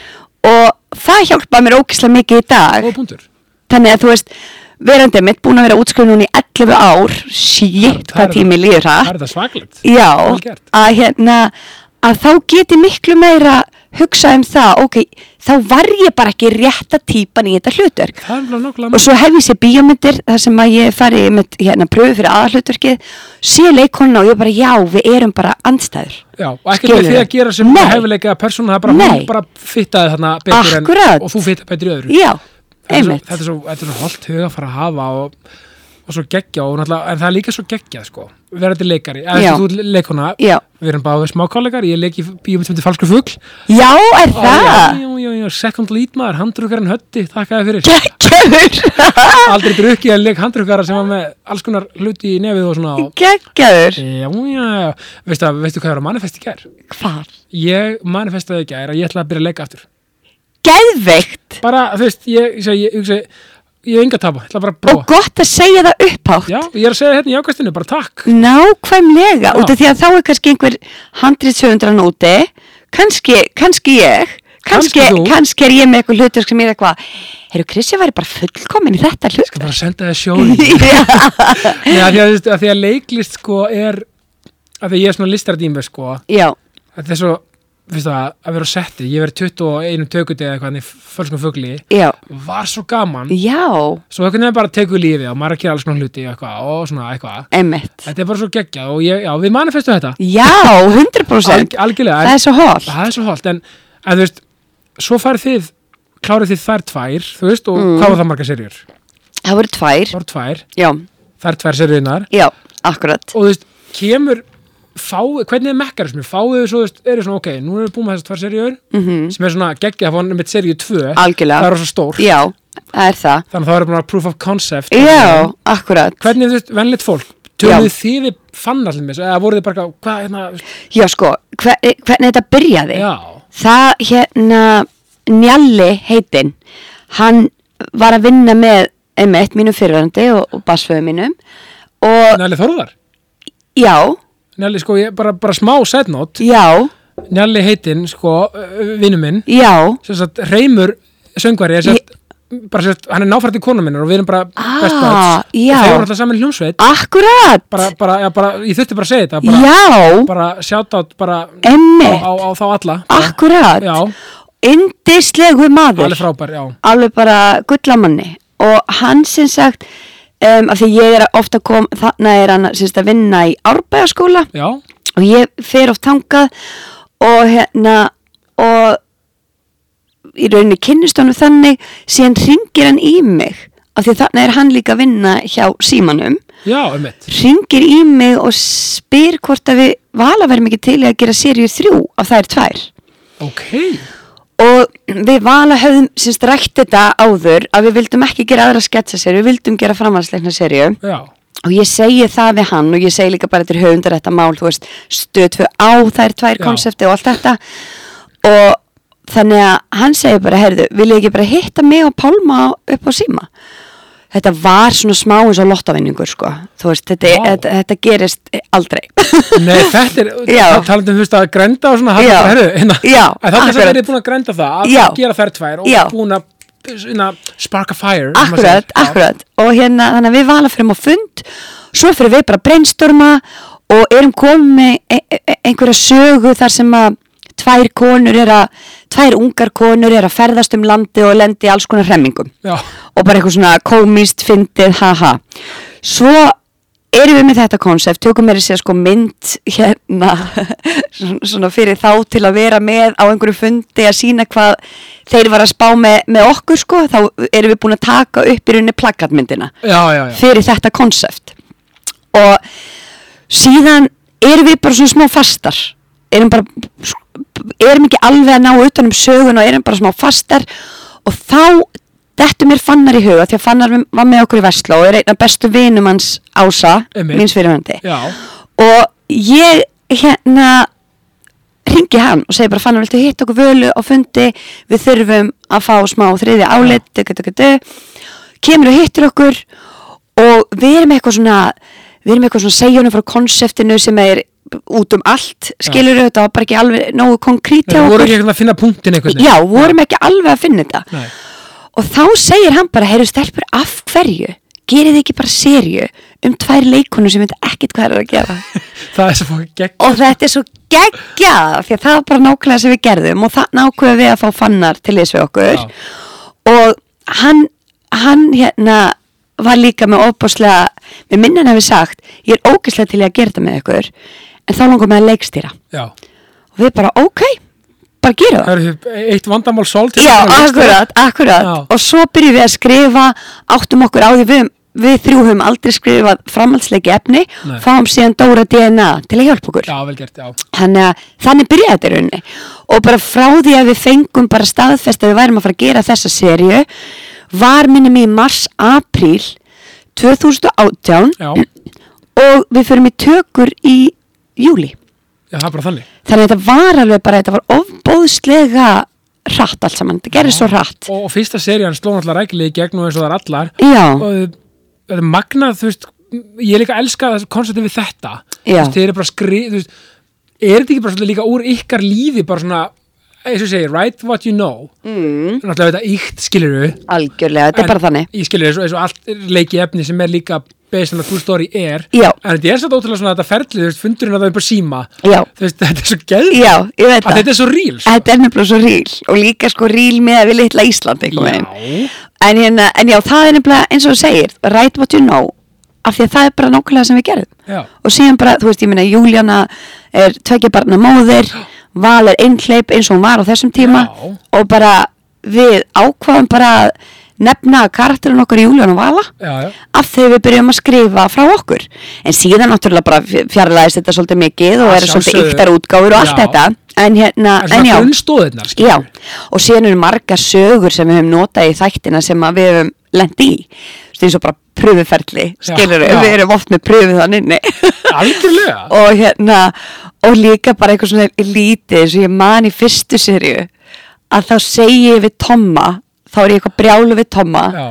og það hjálpaði mér ógislega mikið í dag Góða punktur. þannig að þú veist verandi mitt búin að vera útskrifin núna í 11 ár shit, Það er- hvað tími líður Það það er þetta svaklegt. já, Vel gert. að hérna að þá geti miklu meira hugsað um það, ok, þá var ég bara ekki rétta típan í þetta hlutverk Það er alveg nokkulega og mál. svo hef ég sér bíómyndir þar sem að ég fari með hérna pröfu fyrir aðalhlutverkið sé leikonuna og ég bara, já, við erum bara andstæður Já, og ekkert með Skilurðu? því að gera sem Nei. hefilega persónu, það er bara, Nei. hún bara fittaði þarna betur Akkurat. en, og þú fittaði betur í öðru. já, Þetta er svo- einmitt Þetta er svo, þetta er svo holdt huga að fara að hafa og, og svo geggja og náttúrulega, en það er líka svo geggjað sko, verðandi leikari, eða Já. þessi þú ert leikona, Já. við erum báðið smá kollegar, ég leik í bíum sem þetta falsku fugl. já, er það? Já, já, já, second lead maður, handrukkarinn hötti, þakkaði fyrir. Gekkjaður Aldrei drukkið að leik handrukkara sem var með alls konar hluti í nefið og svona. Og, Gekkjaður já, já, já, veistu, að- veistu hvað er að manifesti gær? Hvar? ég manifestaði ekki að ég ætla að byrja að leika aftur Geðveikt bara, þú veist, ég, ég, ég, ég, ég ég hef enga að tapa, ég ætla bara að og prófa gott að segja það upphátt Já, ég er að segja hérna í ákastinu, bara takk nákvæmlega, Já. út af því að þá er kannski einhver handritsöfundrarn úti kannski, kannski ég Kannski kannski, þú. kannski, er ég með eitthvað hlutur sem er eitthvað, heyrðu Krissi væri bara fullkomin í þetta Ég skal hlutur bara senda það sjóðin Nei, að því að, þú veist, að því að leiklist sko er að því að ég er svona listardými sko að já, það er svo, finnst það, að vera á setti ég verið 21 tökutið eða eitthvað í fölskum fugli, já, var svo gaman já svo einhvern veginn bara tekur lífið og maður er að gera alls konar hluti og eitthvað og svona eitthvað emmitt, þetta er bara svo geggjað og ég, já, við manifestum þetta já, 100% Alg, algjörlega, það en- er svo hol það er svo holt en, en þú veist, svo farið þið klárið þið þær tvær, þú veist og Mm. hvað var það marga serjur? það voru tvær, Það voru tvær, já, þær tvær serjunar já, akkurat og þú veist, kemur fá, hvernig er mekkar sem fáið þið svo, þú veist, eru svona, ok, nú erum við búin með þessar tvær serjur mm sem er svona geggjað, það var með serju 2 það algjörlega, er svo stór, já, það er það þannig að það er bara proof of concept já, akkurat hvernig, þú veist, venlitt fólk Já. Töluðu þið við fannallum þessu, eða voruð þið bara, eitthvað, hvað, hérna, þú veist, Já sko, hver, hvernig þetta byrjaði já, Það hérna Njalli heitinn Hann var að vinna með einmitt mínum fyrirverandi og, og basföðu mínum Og Nelli Þorðar, já, Nelli, sko, ég, bara, bara smá setnót, já, Njalli heitinn, sko, vinnu minn, já sem sagt, Reymur söngvari, er sem sagt, bara sem sagt, hann er náfært í konu minnar og við erum bara Ah, best buds. já. Og þeir voru alltaf saman í hljómsveit, Akkurat bara, bara, já, bara, ég þurfti bara að segja þetta, bara, Já, bara sjátt átt, bara á, einmitt á, á þá alla. bara. Akkurat Já, Indislegu maður alveg frábær, já. alveg bara gullamanni og hann sem sagt um, af því ég er ofta kom þarna er hann sem sagt að vinna í árbæðaskóla Já, og ég fer oft þangað og hérna og í rauninni kynnist honum þannig síðan ringir hann í mig af því þannig er hann líka að vinna hjá símanum já, um mitt. ringir í mig og spyr hvort að við vala verðum ekki til í að gera seríu þrjú af þær tvær Ok, og við vala höfðum semst rætt þetta áður að við vildum ekki gera aðra sketsaseríu, við vildum gera framhaldsleikna seríu já, og ég segi það við hann og ég segi líka bara til höfundar þetta mál, þú veist, stöðfu á þær tvær Já. konsepti og allt þetta og þannig að hann segi bara, heyrðu, vil ég ekki bara hitta mig og pálma upp á síma þetta var svona smá eins og lottavinningur sko, þú veist, þetta, Vá. þetta, þetta gerist aldrei nei, þetta er, Já. það talandi um, þú veist, að grænda og svona, hann Já. bara, herru, hérna, Já, að þá þess að akkurat. verið búin að grænda það, að Já. gera þær tvær og Já. búin að, svona, spark a fire. sem maður Akkurat, segir. Já. akkurat og hérna, þannig að við vala fyrir á fund svo fyrir við bara að brainstorma og erum komið með e- e- e- einhverja sögu þar sem að tvær konur er að, tvær ungar konur er að ferðast um landi og lendi í alls konar hremmingum Já. og bara eitthvað svona komist, fyndið, haha svo erum við með þetta konsept, tökum meira að segja sko mynd hérna svona- svona fyrir þá til að vera með á einhverju fundi að sína hvað þeir var að spá með, með okkur sko þá erum við búin að taka upp í rauninni plakatmyndina já, já, já. fyrir þetta konsept og síðan erum við bara svona smá fastar erum bara erum ekki alveg að ná utan um sögun og erum bara smá fastar og þá þetta mér fannar í huga því að fannar var með okkur í Vestló og er einn af bestu vinum hans Ása, Einmitt. míns fyrirvændi já. og ég hérna ringi hann og segi bara fannar viltu hitta okkur völu á fundi við þurfum að fá smá þriði álit duk, duk, duk. kemur og hittir okkur og við erum eitthvað svona við erum eitthvað svona segjunum frá konseptinu sem er út um allt skilur þetta var bara ekki alveg nógu konkrét hjá Þeir voru okkur ekki eitthvað að finna punktin einhvern já, vorum ekki alveg að finna þetta Nei. og þá segir hann bara, heyrðu stelpur, af hverju gerið þið ekki bara serju um tvær leikunum sem veit ekkert hvað er að gera Það er svo fókið gegn. og þetta er svo geggjað því að það var bara nákvæmlega sem við gerðum og þannig ákveðum við að fá fannar til þess við okkur Já. og hann, hann hérna var líka með óbúslega með minnan hefur sagt, ég er ógæslega til í að gera þetta með ykkur en þá langar með að leikstýra Já. og við bara ok, bara gera það Það eru eitt vandamál hérna sól til Já, þess að- akkurat, akkurat Já. og svo byrjum við að skrifa áttum okkur á því við, við þrjú höfum aldrei skrifað framhaldsleiki efni Nei. fáum síðan Dóra DNA til að hjálpa okkur Já, vel gert, já. þannig að þannig byrjaði þetta í rauninni og bara frá því að við fengum bara staðfest að við værum að fara að gera þessa serju var minnum í mars apríl 2018 Já. og við förum í tökur í júli Já, það er bara þannig. þannig að þetta var alveg bara þetta var ofbóðslega hratt allt saman, þetta gerir svo hratt og, og fyrsta serían sló náttúrulega rækilega í gegn og eins og það er allar já, og það er magnað, þú veist ég er líka að elska það konceptið við þetta þú Já. veist, þeir eru bara skrið, þú veist er þetta ekki bara svolítið líka úr ykkar lífi bara svona, eins og ég segir, write what you know mm. náttúrulega þetta íkt skilur við algjörlega, þetta er bara þannig ég skilur eins og, eins og allt leiki efni sem er líka based on a true story er Já. en þetta er svolítið ótrúlega svona þetta ferlið, þú veist, fundurinn að það er bara síma Já. þú veist, þetta er svo geð já, ég veit að það þetta er svo real sko. Þetta er nefnilega svo ríl og líka sko ríl með að við litla Ísland einhvern veginn. Já. En, hérna, en já, það er nefnilega eins og þú segir, right what you know, af því að það er bara nákvæmlega sem við gerum. Já. Og síðan bara, þú veist, ég meina, Júlíana er tvekja barna móðir, Val er einhleip eins og hún var á þessum tíma Já. og bara við ákvaðum bara að nefna karakterinn okkar Júlíana og Vala já, já, af þegar við byrjum að skrifa frá okkur en síðan náttúrulega bara fjarlæðist þetta svolítið mikið og Að eru svolítið sjálfsögðu. yktar útgáfur og allt Já. þetta en hérna, en en svona já grunnstóðirnar skilur já, og síðan eru margar sögur sem við höfum notað í þættina sem að við höfum lent í, Þú veist, eins og bara pröfuferli, Já, skilur já. við við erum oft með pröfu þannig Algjörlega. og hérna, og líka bara eitthvað svona lítið eins og ég man í fyrstu serju að þá segi ég við Tomma þá er ég eitthvað brjálu við Tomma Já,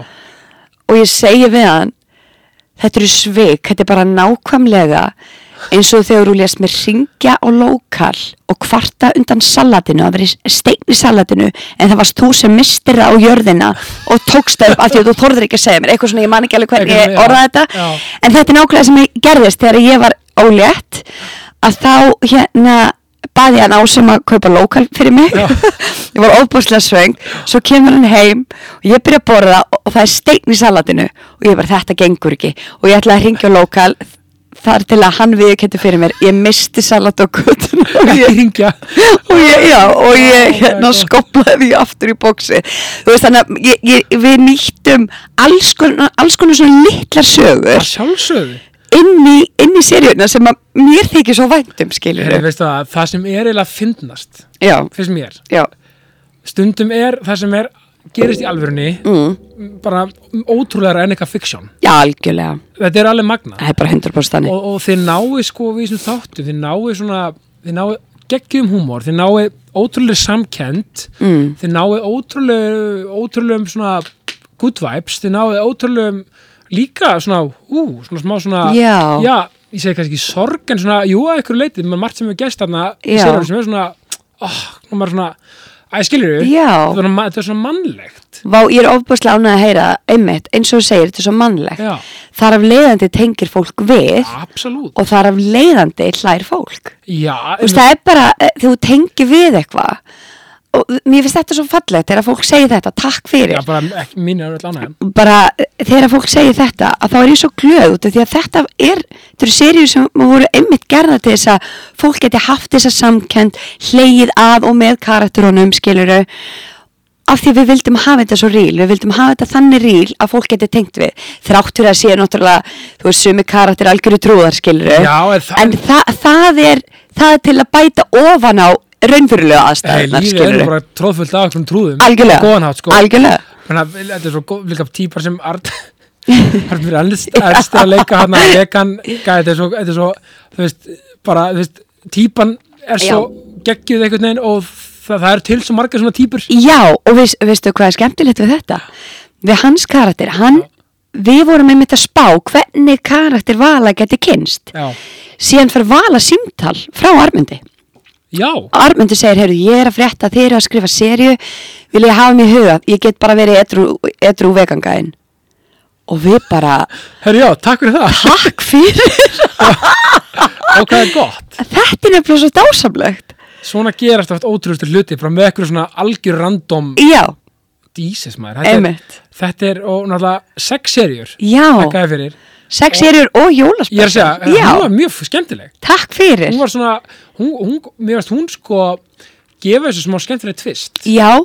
og ég segi við hann þetta eru svik, þetta er bara nákvæmlega eins og þegar þú lést mér ringja á lokal og kvarta undan salatinu að vera steign í salatinu en það varst þú sem mistir það á jörðina og tókst það upp af því að þú þorður ekki að segja mér eitthvað svona, ég man ekki alveg hvernig Eitthvað ég svona, já, orðaði þetta já. en þetta er nákvæmlega sem ég gerðist þegar ég var ólétt að þá hérna baði hann á sem að kaupa lokal fyrir mig Já. ég var óbúslega svöng svo kemur hann heim og ég byrja að borða og, og það er steinn í salatinu og ég bara þetta gengur ekki og ég ætla að ringja á lokal þar til að hann viðkendi fyrir mér ég misti salat á kutun og ekki ég hringja og ég, já, og ég Oh my hérna God. skoplaði því aftur í bóksi þú veist þannig að ég, ég, við nýttum alls konar, alls konar svona litlar að sögur sjálfsögðu inn í, inn í seríuna sem að mér þykir svo væntum skilur Heyrðu, veistu það, það sem er eiginlega fyndnast já, finnst mér, já, stundum er það sem er gerist í alvörunni mm. bara ótrúlega en eitthvað fiksjón já, algjörlega þetta er alveg magna það er bara 100% þannig og, og þið náu sko við þessum þáttum þið náu svona, þið náu geggjum húmor þið náu ótrúlega samkend mm. þið náu ótrúlega ótrúlegum svona good vibes þið náu ótrúlegum líka svona, ú, svona smá svona Já. ég segi kannski ekki sorg en svona, jú að ykkur leitið, með margt sem við gæst þarna í Já. sérum sem er svona oh, nú maður svona, æ skilur við Já. þetta er svona- þetta er svona mannlegt Vá, ég er ofbúslega ánægð að heyra það, einmitt, eins og þú segir, þetta er svo mannlegt. Já. Þar af leiðandi tengir fólk við absolutt, og þar af leiðandi hlær fólk. já, Þú veist, það er bara, eh, þegar þú tengir við eitthvað, og mér finnst þetta svo fallegt þegar fólk segir þetta, takk fyrir. já bara ekki mín er öll ánægum bara eh, þegar fólk segir þetta að þá er ég svo glöð út af því að þetta er þetta eru seríur sem voru einmitt gerða til þess að fólk geti haft þessa samkend hleið að og með karakterunum skiluru af því við vildum hafa þetta svo ríl við vildum hafa þetta þannig ríl að fólk geti tengt við þráttur að sé náttúrulega þú veist sumi karakter algjöru trúðar skiluru Já, en það- en það, það er það er til að bæta ofan á raunverulega Hey, aðstæðnar lífið er nú skiluru bara tróðfullt af okkur trúðum Á algjörlega, góðan hátt sko algjörlega Þannig að þetta er svo góð, líka típar sem Art Arnfyrir Ernst er að leika hann að vegan gæ, þetta er svo, þetta er svo þú veist, bara, þú veist, típan er svo geggjuð einhvern veginn og það, það er til svo margar svona típur Já, og veist, veistu hvað er skemmtilegt við þetta? Við hans karakter, hann, við vorum einmitt að spá hvernig karakter Vala geti kynst. Já, Síðan fer Vala símtal frá Armundi. já, Armundi segir, heyrðu, ég er að frétta þeir eru að skrifa serju, vil ég hafa mér hugað, ég get bara verið edru, edru vegangaðin. Og við bara, herru já, takk fyrir það takk fyrir, og hvað er gott þetta er nefnilega svo dásamlegt. Svona gerast oft ótrúðustu hluti bara með eitthvað svona algjör random Já, dísis maður Þetta er, Einmitt. þetta er og náttúrulega sex serjur Takk já, að fyrir sex serjur og jólaspöld. Ég er að segja, hún já, var mjög skemmtileg takk fyrir. hún var svona hún, hún, mér varst hún sko gefa þessu smá skemmtileg tvist Já,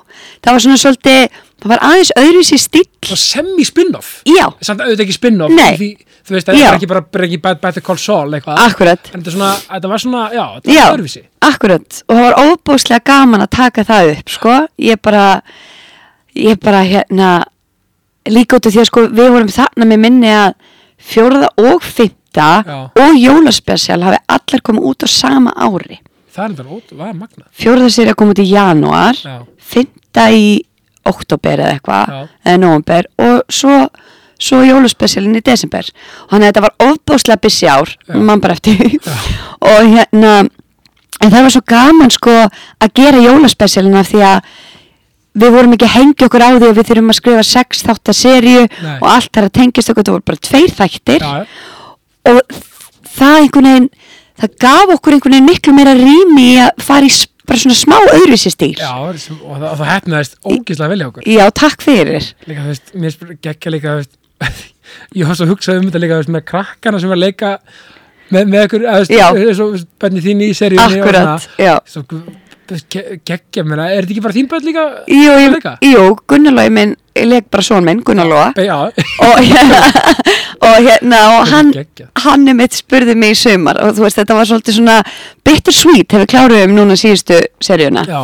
það var svona svolítið, það var aðeins öðruvísi stíll. og semi-spin-off Já, samt auðvitað ekki spin-off Nei. því, þú veist, það Já. er ekki bara brengi Better Call Saul eitthvað akkurat. en þetta, er svona, þetta var svona, já, þetta Já, var öðruvísi akkurat. Og það var óbúslega gaman að taka það upp, sko. Ég bara, ég bara hérna, líka út af því að sko við vorum þarna með minni að fjórða og fymta Já. og jólaspesial hafi allar komið út á sama ári. það er þetta ótrúlega, það er magnað Fjórða sér að koma út í janúar Já, Fynda í oktober eða eitthvað Já. eða nóvember og svo, svo jóluspecialin í desember og þannig að þetta var ofbáslega busy ár Já. mann bara eftir því. og hérna en það var svo gaman sko að gera jóluspecialina því að við vorum ekki að hengja okkur á því að við þurfum að skrifa sex þátt að seríu Nei. og allt þar að tengist okkur, það voru bara tveir þættir já, og það einhvern veginn það gaf okkur einhvern veginn miklu meira rými í að fara í s- bara svona smá öðruvísi stíl já sem, og það, og það hefnaðist ógislega velja okkur Já, takk fyrir líka þú veist, mér spyr- geggja líka þú veist, ég var svo hugsað um þetta líka þú veist, með krakkana sem var að leika með, með ykkur, að, Já. þú veist, svo benni þín í seríunni og Akkurat, svona. já svo þú veist, ge- geggja, menna, er þetta ekki bara þín börn líka Jú, að jú, leika? jú Gunnarlói minn, ég leik bara són minn, Gunnarlóa já, og hérna og, hérna, Þetta og er hann geggjað. hann er mitt spurði mig í sumar og þú veist, þetta var svolítið svona bittersweet hefur kláruðum núna síðustu seríuna já,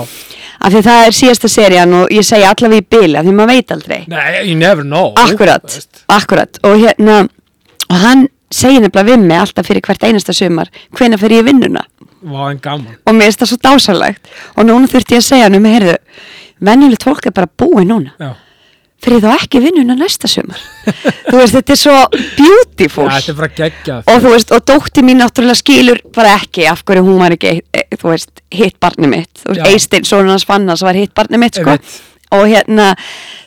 af því það er síðasta serían og ég segi allavega í bíli af því maður veit aldrei nei, you never know Akkurat, þú veist. akkurat og hérna, og hann segir nefnilega við mig alltaf fyrir hvert einasta sumar hvenær fer ég í vinnuna Vá, en gaman og mér finnst það svo dásalegt og núna þurfti ég að segja hann um, heyrðu venjulegt fólk er bara búið núna Já, fer ég þá ekki í vinnuna næsta sumar þú veist, þetta er svo Já, beautiful þetta er bara geggjað og þú veist, og dótti mín náttúrulega skilur bara ekki af hverju hún var ekki e, þú veist, hitt barni mitt þú veist, Já. Eistinn, sonur hans Fannars var hitt barni mitt sko. Einmitt. og hérna,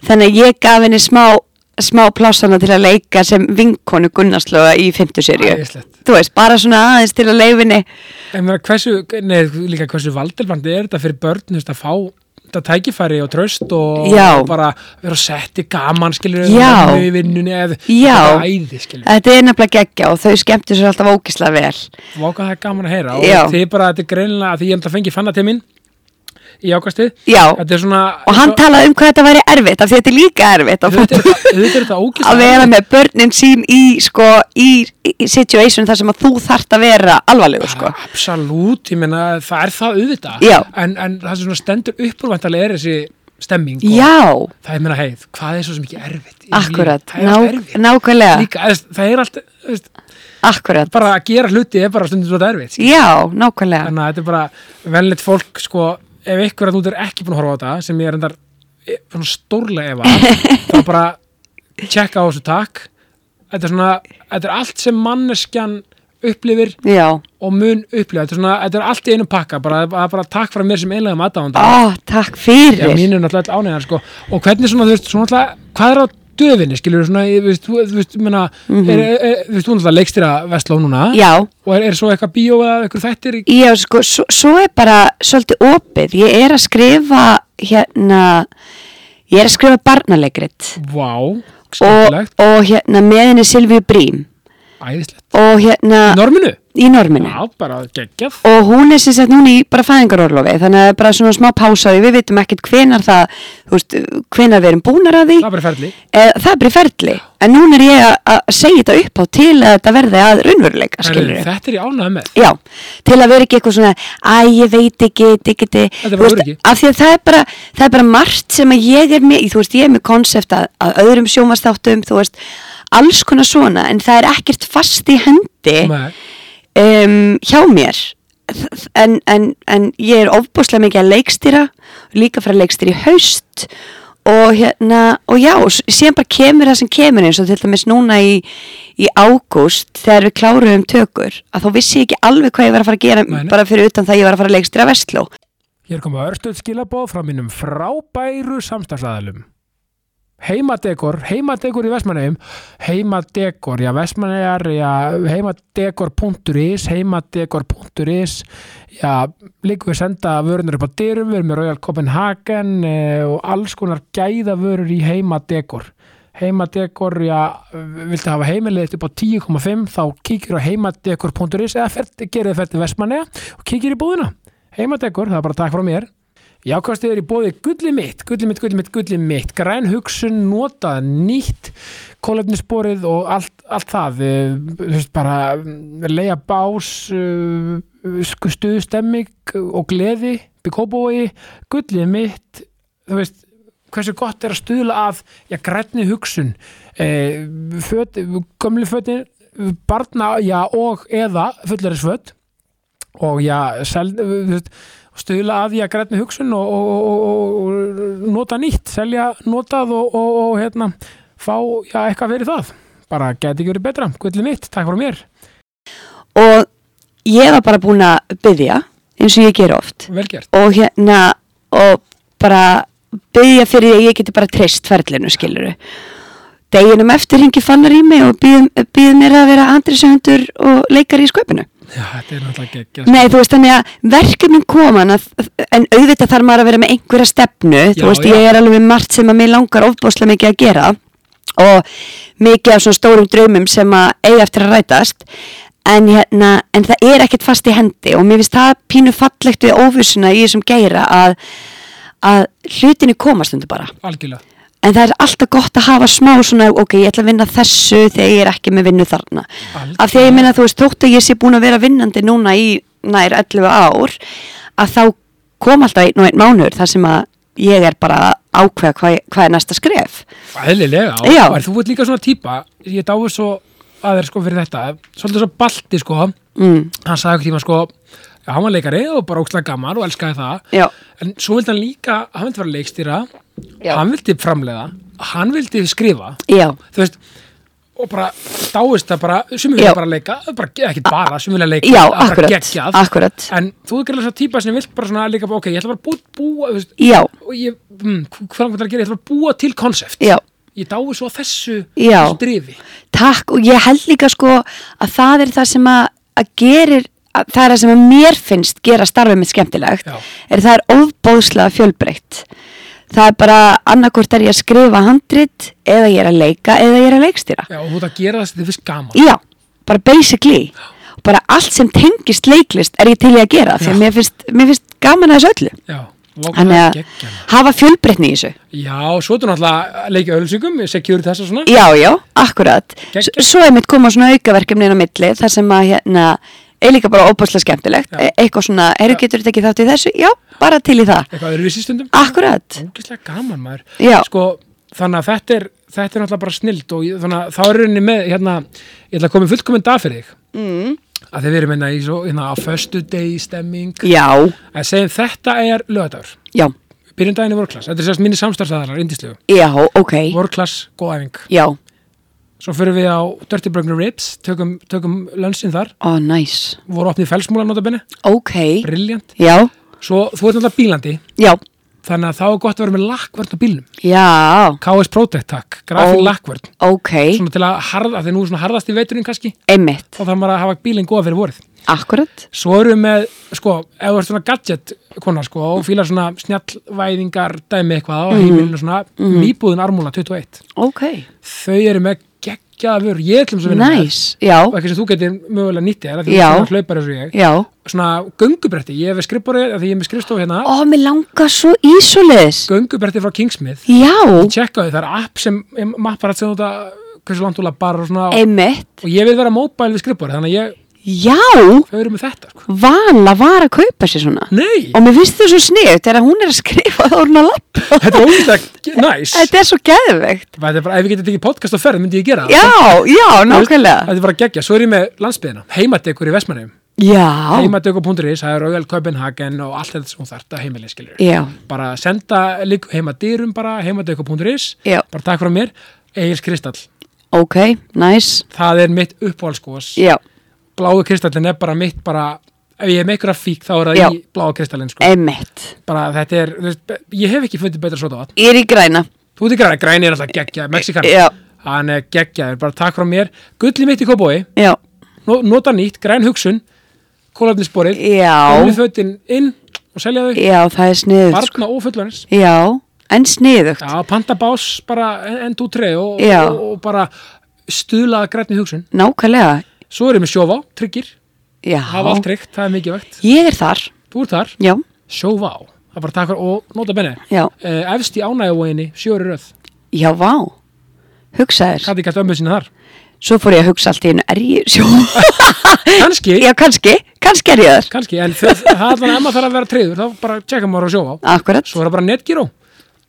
þannig að ég gaf henni smá smá plásana til að leika sem vinkonu Gunnarslóa í fymtu serju Æðislegt. þú veist, bara svona aðeins til að leifinni Ég meina, hversu, nei, líka hversu valdelbandi er þetta fyrir börn, þú veist, að fá þetta tækifæri og tröst og Já. og bara vera setti gaman, skilur Já. í vinnunni eða Já. Eh. þetta er æði, skilur þetta er nefnilega geggja og þau skemmtu sér alltaf ókislega vel og ákvað það er gaman að heyra Já. og þið bara, þetta er greinlega að því ég held að fengi fanna til minn í ákastið Já. þetta er svona og hann talaði um hvað þetta væri erfitt af því þetta er líka erfitt að, þetta er þetta- þetta er þetta ógeðslega að vera erfitt. með börnin sín í, sko, í, í situation þar sem að þú þart að vera alvarlegur sko. Absolutt, ég meina það er það auðvitað Já. en, en það sem svona stendur uppúrvæntalega er þessi stemming og Já, það er meina heið, hvað er svo sem ekki erfitt í lífinu? akkurat, það er ná, allt erfitt nákvæmlega, Líka, þú veist, það er allt, þú veist, akkurat, bara að gera hluti er bara stundum svo erfitt skilur. já, nákvæmlega, þannig að þetta er bara velnit fólk sko, ef ykkur að þú er ekki búin að horfa á þetta sem ég er endar eh, svona stórlega efa þá bara tjekka á þessu takk þetta er svona, þetta er allt sem manneskjan upplifir já, og mun upplifa þetta er, svona, þetta er allt í einu pakka bara, bara, bara takk frá mér sem einlega matavanda ó, takk já, fyrir, mínu er náttúrulega ánægðar sko. og hvernig svona, þú veist, svona alltaf, hvað er á döfinni skilur þú svona, ég- þú veist, þú þú veist, menna, er, er, er, þú veist, þú náttúrulega leikst þér að vestló núna Mhm. já, og er, er svo eitthvað bíó eða eitthvað þættir í... já, sko, svo, svo er bara svolítið opið, ég er að skrifa, hérna, ég er að skrifa barnaleikrit Vá, og, skemmtilegt, og hérna, með henni Silvíu Brím æðislegt og hérna, Norminu? í norminu. Já, bara geggjað og hún er sem sagt núna í bara fæðingarorlofi þannig að það er bara svona smá pásaði við vitum ekkert hvenar það, þú veist, hvenar við erum búnar að því Það er bara ferli Eh, það er bara í ferli en núna er ég að- að segja þetta upp á til að þetta verði að raunveruleika skilur Herru, Þetta er ég ánægð með Já, til að vera ekki eitthvað svona æ, ég veit ekki, diggiti er bara öryggi. af því að það er bara, það er bara margt sem að ég er með, þú veist, ég er með konsept að, að öðrum sjómastáttum, þú veist alls konar svona, en það er ekkert fast í hendi Nei. um, hjá mér Þ- en, en, en ég er ofbúslega mikið að leikstýra líka fyrir að leikstýra í haust og hérna, og já, og s- síðan bara kemur það sem kemur eins og til dæmis núna í, í ágúst þegar við kláruðum tökur að þá vissi ég ekki alveg hvað ég var að fara að gera Nei, nei. bara fyrir utan það ég var að fara að leikstýra vestló Hér koma örstuð skilabóð frá mínum frábæru samstagsæðalum. Heimadekor, heimadekor í Vestmannegjum, heimadekor, já Vestmannegjar, já heimadekor.is, heimadekor.is, já líka við senda vörunur upp á dyrum, við erum með Royal Copenhagen eh, og alls konar gæðavörur í heimadekor. Heimadekor, já, viltu hafa heimilið þitt upp á 10,5 þá kíkir á heimadekor.is eða ferð, gerir þið ferð til Vestmannegja og kíkir í búðina heimadekur, það er bara takk frá mér Jákvæmstið er í bóði gulli mitt, gulli mitt, gulli mitt, gulli mitt, græn hugsun, notað, nýtt, kólefnisborið og allt, allt það, eh, þú veist bara, leia bás, eh, sku- stuð, stemming og gleði, byggkóbói, gulli mitt, þú veist, hversu gott er að stuðla að, já, grænni hugsun, eh, föt, gömlu fötin, barna, já, og eða fullerisföt, og já, sel, þú veist, stuðla að því að grænni hugsun og, og, og, og, og nota nýtt, selja notað og, og, og hérna, fá já, eitthvað verið það. Bara geti ekki verið betra, gullið mitt, takk fyrir mér. og ég var bara búin að byggja eins og ég ger oft Vel gert. og hérna og bara byggja fyrir því að ég geti bara treyst ferlinu skiluru deginum eftir hengi fannar í mig og býð mér að vera andrisöfundur og leikar í sköpunu Já, þetta er náttúrulega geggjast. Nei, þú veist þannig að verkefnin koman að, en auðvitað þarf maður að vera með einhverja stefnu, Já, þú veist já. ég er alveg með margt sem að mér langar ofbáslega mikið að gera og mikið af svona stórum draumum sem að eiga eftir að rætast en, hérna, en það er ekkert fast í hendi og mér finnst það pínu fallegt við óvissuna í þessum geira að, að hlutinu komast undir bara Algjörlega. en það er alltaf gott að hafa smá svona, ok, ég ætla að vinna þessu þegar ég er ekki með vinnu þarna Algjörlega. af því að ég minna, þú veist, þótt að ég sé búin að vera vinnandi núna í nær 11 ár að þá kom alltaf einn og einn mánuður þar sem að ég er bara að ákveða hvað, hvað er næsta skref Æðlilega. Já. Og þú ert líka svona típa, ég dáið svo að þér sko fyrir þetta, svolítið svo balti sko, mm, hann sagði okkur tíma sko, já, hann var leikari og bara ókslega gaman og elskaði það. já, En svo vildi hann líka, hann vildi vera leikstýra, Já. hann vildi framleiða, hann vildi skrifa, já, þú veist, og bara dáist það bara, sem Já. vilja bara leika, bara, ekki bara, sem vilja leika, já, það er bara akkurat geggjað. akkurat, En þú er gerðilega svo típa sem vilt bara svona líka, bara, ok, ég ætla bara að bú, búa, þú veist, já, og ég, mm, hv- hvað langar það að gera, ég ætla bara að búa til konsept já ég dái svo að þessu Já. þessu drifi Takk og ég held líka sko að það er það sem að, að gerir, að, það er það sem að mér finnst gera starfið mitt skemmtilegt, Já. er það er óbóðslega fjölbreytt. Það er bara annarkvort er ég að skrifa handrit eða ég er að leika eða ég er að leikstýra. Já, og þú ert að gera það sem þið finnst gaman Já, bara basically. Bara allt sem tengist leiklist er ég til í að gera því Já. að mér finnst, mér finnst gaman að þessu öllu. Já, og Þannig að geggjana hafa fjölbreytni í þessu. Já, svo ertu náttúrulega að leika ölsingum security þessa svona Já, já, akkurat. S Geggjað. svo er mitt koma svona aukaverkefni inn á milli þar sem að hérna er líka bara óbúslega skemmtilegt. Já. E eitthvað svona, heyrðu getur þetta ekki þátt í þessu? Já, bara til í það. eitthvað öðruvísi stundum Akkurat. Ógislega gaman maður Já. Sko, þannig að þetta er, þetta er náttúrulega bara snild og ég, þannig að þá er rauninni með hérna, ég ætla að koma fullkominn dag fyrir þig Mm. að þið verðum hérna í svo, hérna á föstu degi stemming Já, að segjum þetta er lögadagur já, byrjum daginn í vorklass, þetta er sérst minni samstarfsaðarar indislegu, já, ok. vorklass, góð æfing Já, Svo fyrir við á Dirty Burger Ribs, tökum, tökum lönnsinn þar, ó, nice. voru opnið í felsmúla notabene, Ok, brilljant. já, Svo þú ert náttúrulega bílandi, já, þannig að þá er gott að vera með lakkvörn á bílnum. já, KS Protect takk, grafin Ó. oh. lakkvörn, ok, svona til að harða, þegar nú er svona harðast í veiturinn kannski, einmitt, þá þarf maður að hafa bílinn góða fyrir vorið. akkurat, Svo erum við með, sko, ef þú ert svona gadget konar, sko, og fílar svona snjallvæðingar, dæmi eitthvað á Mhm. heimilinu svona, mm. nýbúðin armúla 21. ok, Þau eru með geggjaða vörur, ég ætlum svo vinna með þær. nice, já, og eitthvað sem þú getur mögulega nýttið þér af því Já. þú ert svona hlaupar eins og ég já. svona göngubretti, ég hef skrifbórið af því ég er með skrifstofu hérna, Ó, mér langar svo ísóliðis. göngubretti frá Kingsmith Já, tjekkaðu, það er app sem mappar að segja þetta hversu langt þú labbar og svona og, einmitt, og ég vil vera móbæl við skrifbórið þannig að ég, já. þau eru með þetta sko. Vala var að kaupa sér svona Nei, og mér finnst það svo sniðut þegar hún er að skrifa þá er hún að lappa þetta er ógeðslega næs Þetta er svo geðveikt Þetta er bara, ef ég getið ekki podcast á ferð myndi ég gera það Já, já, Þú veist, nákvæmlega Þetta er bara geggja, svo er ég með landsbyðina heimadekur í Vestmanheim, Já, heimadekur.is það er Royal Copenhagen og allt þetta sem hún þarft að heimilið skilur já, bara senda lík heima dýrum bara heimadauka.is Já. bara takk frá mér, Egil Kristall ok, næs það er mitt uppáhalskos Já, bláu kristallin er bara mitt bara ef ég er með einhverja fík þá er það Já. í bláu kristallin sko. einmitt bara þetta er, þú veist, be- ég hef ekki fundið betra sota vatn, Ég er í græna þú veit ekki græni, græni er alltaf geggja mexikan, Já, hann er geggjaður bara takk frá mér, gulli mitt í kóbói já, no- nota nýtt, græn hugsun kólefnisborið, já, sko. gulli fötin inn og selja þau, já, það er sniðut barna og fullanins Já, en sniðugt Já, pandabás bara enn tú treð og, Já. og, og bara stuðlaða grænni hugsun. Nákvæmlega, Svo erum við sjóvá, tryggir, já hafa allt tryggt, það er mikið vegt. Ég er þar, Þú ert þar, já, sjóvá, það er bara takkar og nota benni. já, Uh, efst í ánægjavóginni, sjóri röð, já, vá Hugsaðir, Kati gæst ömmu sinna þar. svo fór ég að hugsa allt í einu Er ég, sjó, Kanski, já, kannski, kannski er ég þar kannski, en þau- það er allan að maður þarf að vera treyður, þá bara tjekka maður á sjóvá. Akkurat, Svo er það bara netgíró.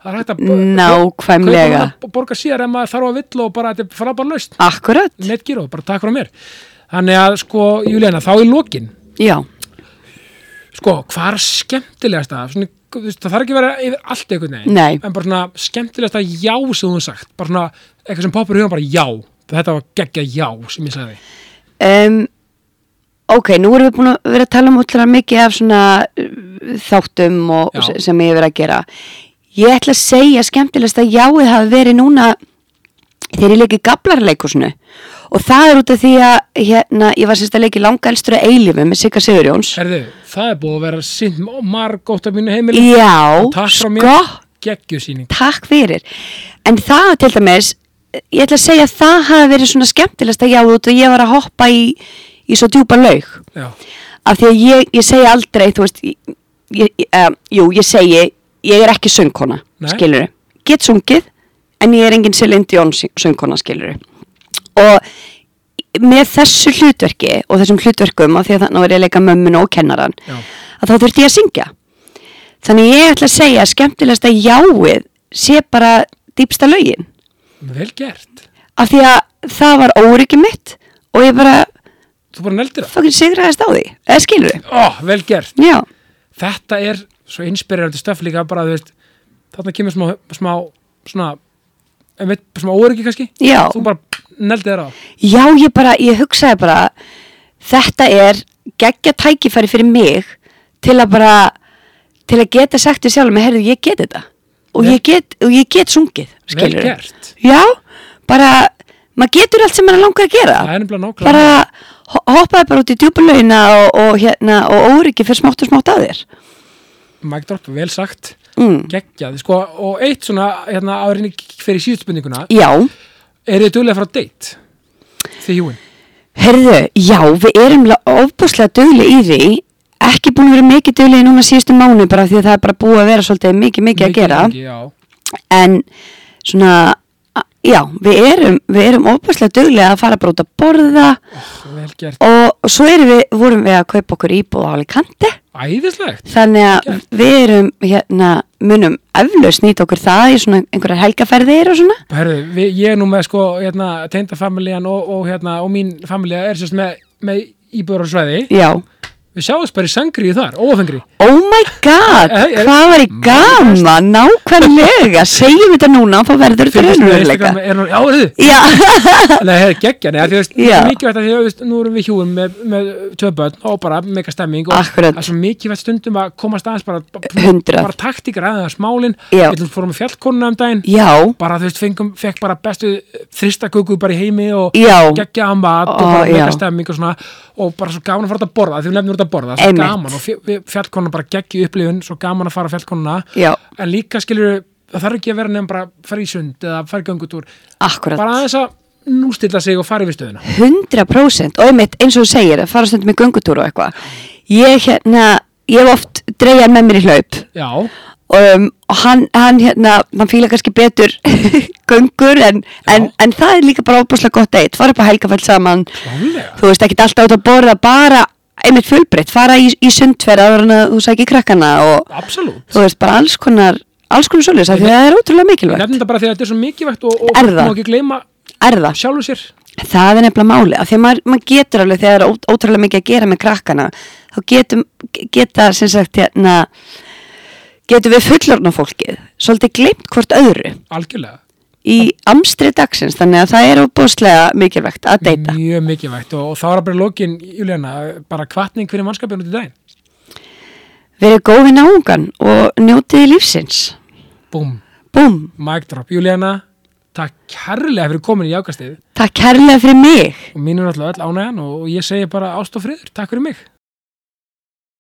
Það er hægt að nákvæmlega að borga síðar ef maður þarf að vill og bara þetta er frábær laust. Mm. Akkurat, Netgíró, bara takk frá mér. Þannig að sko, Júlíana, þá í lokin, já, sko, hvað er skemmtilegasta svona, þú veist, það þarf ekki að vera yfir allt einhvern veginn Nei. en bara svona skemmtilegasta já sem þú hefur sagt, bara svona eitthvað sem poppar í hugan bara já, þetta var geggja já sem ég sagði, um, ok, nú erum við búin að vera að tala um útlæðar mikið af svona uh, þáttum og, Já. og sem ég hef verið að gera ég ætla að segja skemmtilegst að jáið hafi verið núna þegar ég leik í gablarleikursinu og það er út af því að hérna, ég var sérst að leik í langa elstur að eilífu með Sigga Sigurjóns herðu það er búið að vera sint margótt af mínu heimili já, takk frá mér, sko geggjusýning takk fyrir en það til dæmis ég ætla að segja að það hafi verið svona skemmtilegst að jáið út og ég var að hoppa í, í svo djúpa laug já, af því að ég, ég segi aldrei þú veist ég, ég, um, jú, ég segi, ég er ekki söngkona Nei. skilur, get sungið en ég er engin Celine Dion syng- söngkona skilur og með þessu hlutverki og þessum hlutverkum af því að þannig var ég að leika mömmun og kennaran Já. að þá þurfti ég að syngja þannig ég ætla að segja að skemmtilegasta jáið sé bara dýpsta lögin vel gert af því að það var óryggi mitt og ég bara þú bara neldir það fucking sigraðist á því eða skilur við, oh, vel gert já þetta er svo inspirerandi stöf líka bara, þú veist, þarna kemur smá, smá svona, einmitt, smá óryggi kannski, Já. þú bara neldi þér á, Já, ég bara, ég hugsaði bara þetta er geggja tækifæri fyrir mig til að bara til að geta sagt því sjálf með, heyrðu, ég get þetta og Vel- ég get, og ég get sungið vel skilur gert Já, bara, maður getur allt sem maður langar að gera það er nefnilega nákvæmlega bara ho- hoppaði bara út í djúpulauna og, og hérna, og óryggi fyrir smátt og smátt að þér Mike Drop, vel sagt, mm. geggjað sko, og eitt svona, hérna, árinni fyrir síðutspurninguna, Já, er þið duglega frá date? þið hjúin, heyrðu, já, við erum la- ofboðslega dugli í því ekki búin að vera mikið dugli núna síðustu mánu bara því að það er bara búið að vera svolítið mikið mikið að gera mikið, já, en svona a- já, við erum, við erum ofbærslega duglega að fara bara út að borða vel gert, og, og svo erum við, vorum við að kaupa okkur íbúð á Alicante æðislegt þannig að Gert. við erum hérna, munum eflaust nýta okkur það í svona einhverjar helgaferðir og svona Herðu, við, ég er nú með sko, hérna, teindafamiljan og, og hérna, og mín familja er sérst með, með íbúður á svæði já, Við sjáumst bara í sangri þar, óafengri. oh my god Hey, hey. hvað var í gaman, nákvæmlega segjum þetta núna og þá verður þetta raunveruleika Instagram er nú, já, heyrðu, já, Nei, það er geggja, neða, því veist, Já. það er mikilvægt að því, veist, nú erum við hjúum með, með tvö börn og bara meika stemming og Akkurat. það er svo mikilvægt stundum að komast aðeins bara, bara, 100 bara taktíkar aðeins smálin, Já. við fórum með fjallkonuna um daginn, já, bara þú veist, fengum, fekk bara bestu þristaköku bara í heimi og Já. geggja að mat og Ó, bara já. meika stemming og svona og bara svo gaman að fara út að borða, því við nefnum út að borða, það er svo Einmitt. gaman og fj- við- fjallkonan bara geggju upplifun, svo gaman að fara á fjallkonuna já, en líka skilur það þarf ekki að vera nefn bara að fara í sund eða fara í göngutúr, akkurat bara aðeins að nústilla sig og fara yfir stöðuna 100% og einmitt eins og þú segir að fara stundum í göngutúru og eitthvað ég hérna, ég hef oft dreigjar með mér í hlaup já, um, og hann, hann hérna, hann fíla kannski betur göngur en, en, en það er líka bara óbúslega gott eitt, fara upp á helgafell saman klálega þú veist ekki alltaf út að borða bara einmitt fjölbreytt, fara í, í sundferð áður en að þú sækir krakkana og absolutt, þú veist bara alls konar alls konar svolítið, því að það er ótrúlega mikilvægt nefnum þetta bara því að þetta er svo mikilvægt og, og Er fólk það? má ekki gleyma er það? sjálfu sér Það er nefnilega máli, af því að maður, maður getur alveg þegar það er ó- ótrúlega mikið að gera með krakkana þá getum, geta sem sagt hérna, getum við fullorna fólkið svolítið glemt hvort öðru algjörlega, í amstri dagsins þannig að það er óbúslega mikilvægt að deyta mjög mikilvægt og, og þá er bara lókin, Júlíana, bara kvartning fyrir mannskapin út í daginn, Verið góði náungan og njótiði lífsins búm, Búm, mic drop Júlíana, takk kærlega fyrir komin í jákastið takk kærlega fyrir mig og mín er náttúrulega öll ánægjan og ég segi bara ást og friður, takk fyrir mig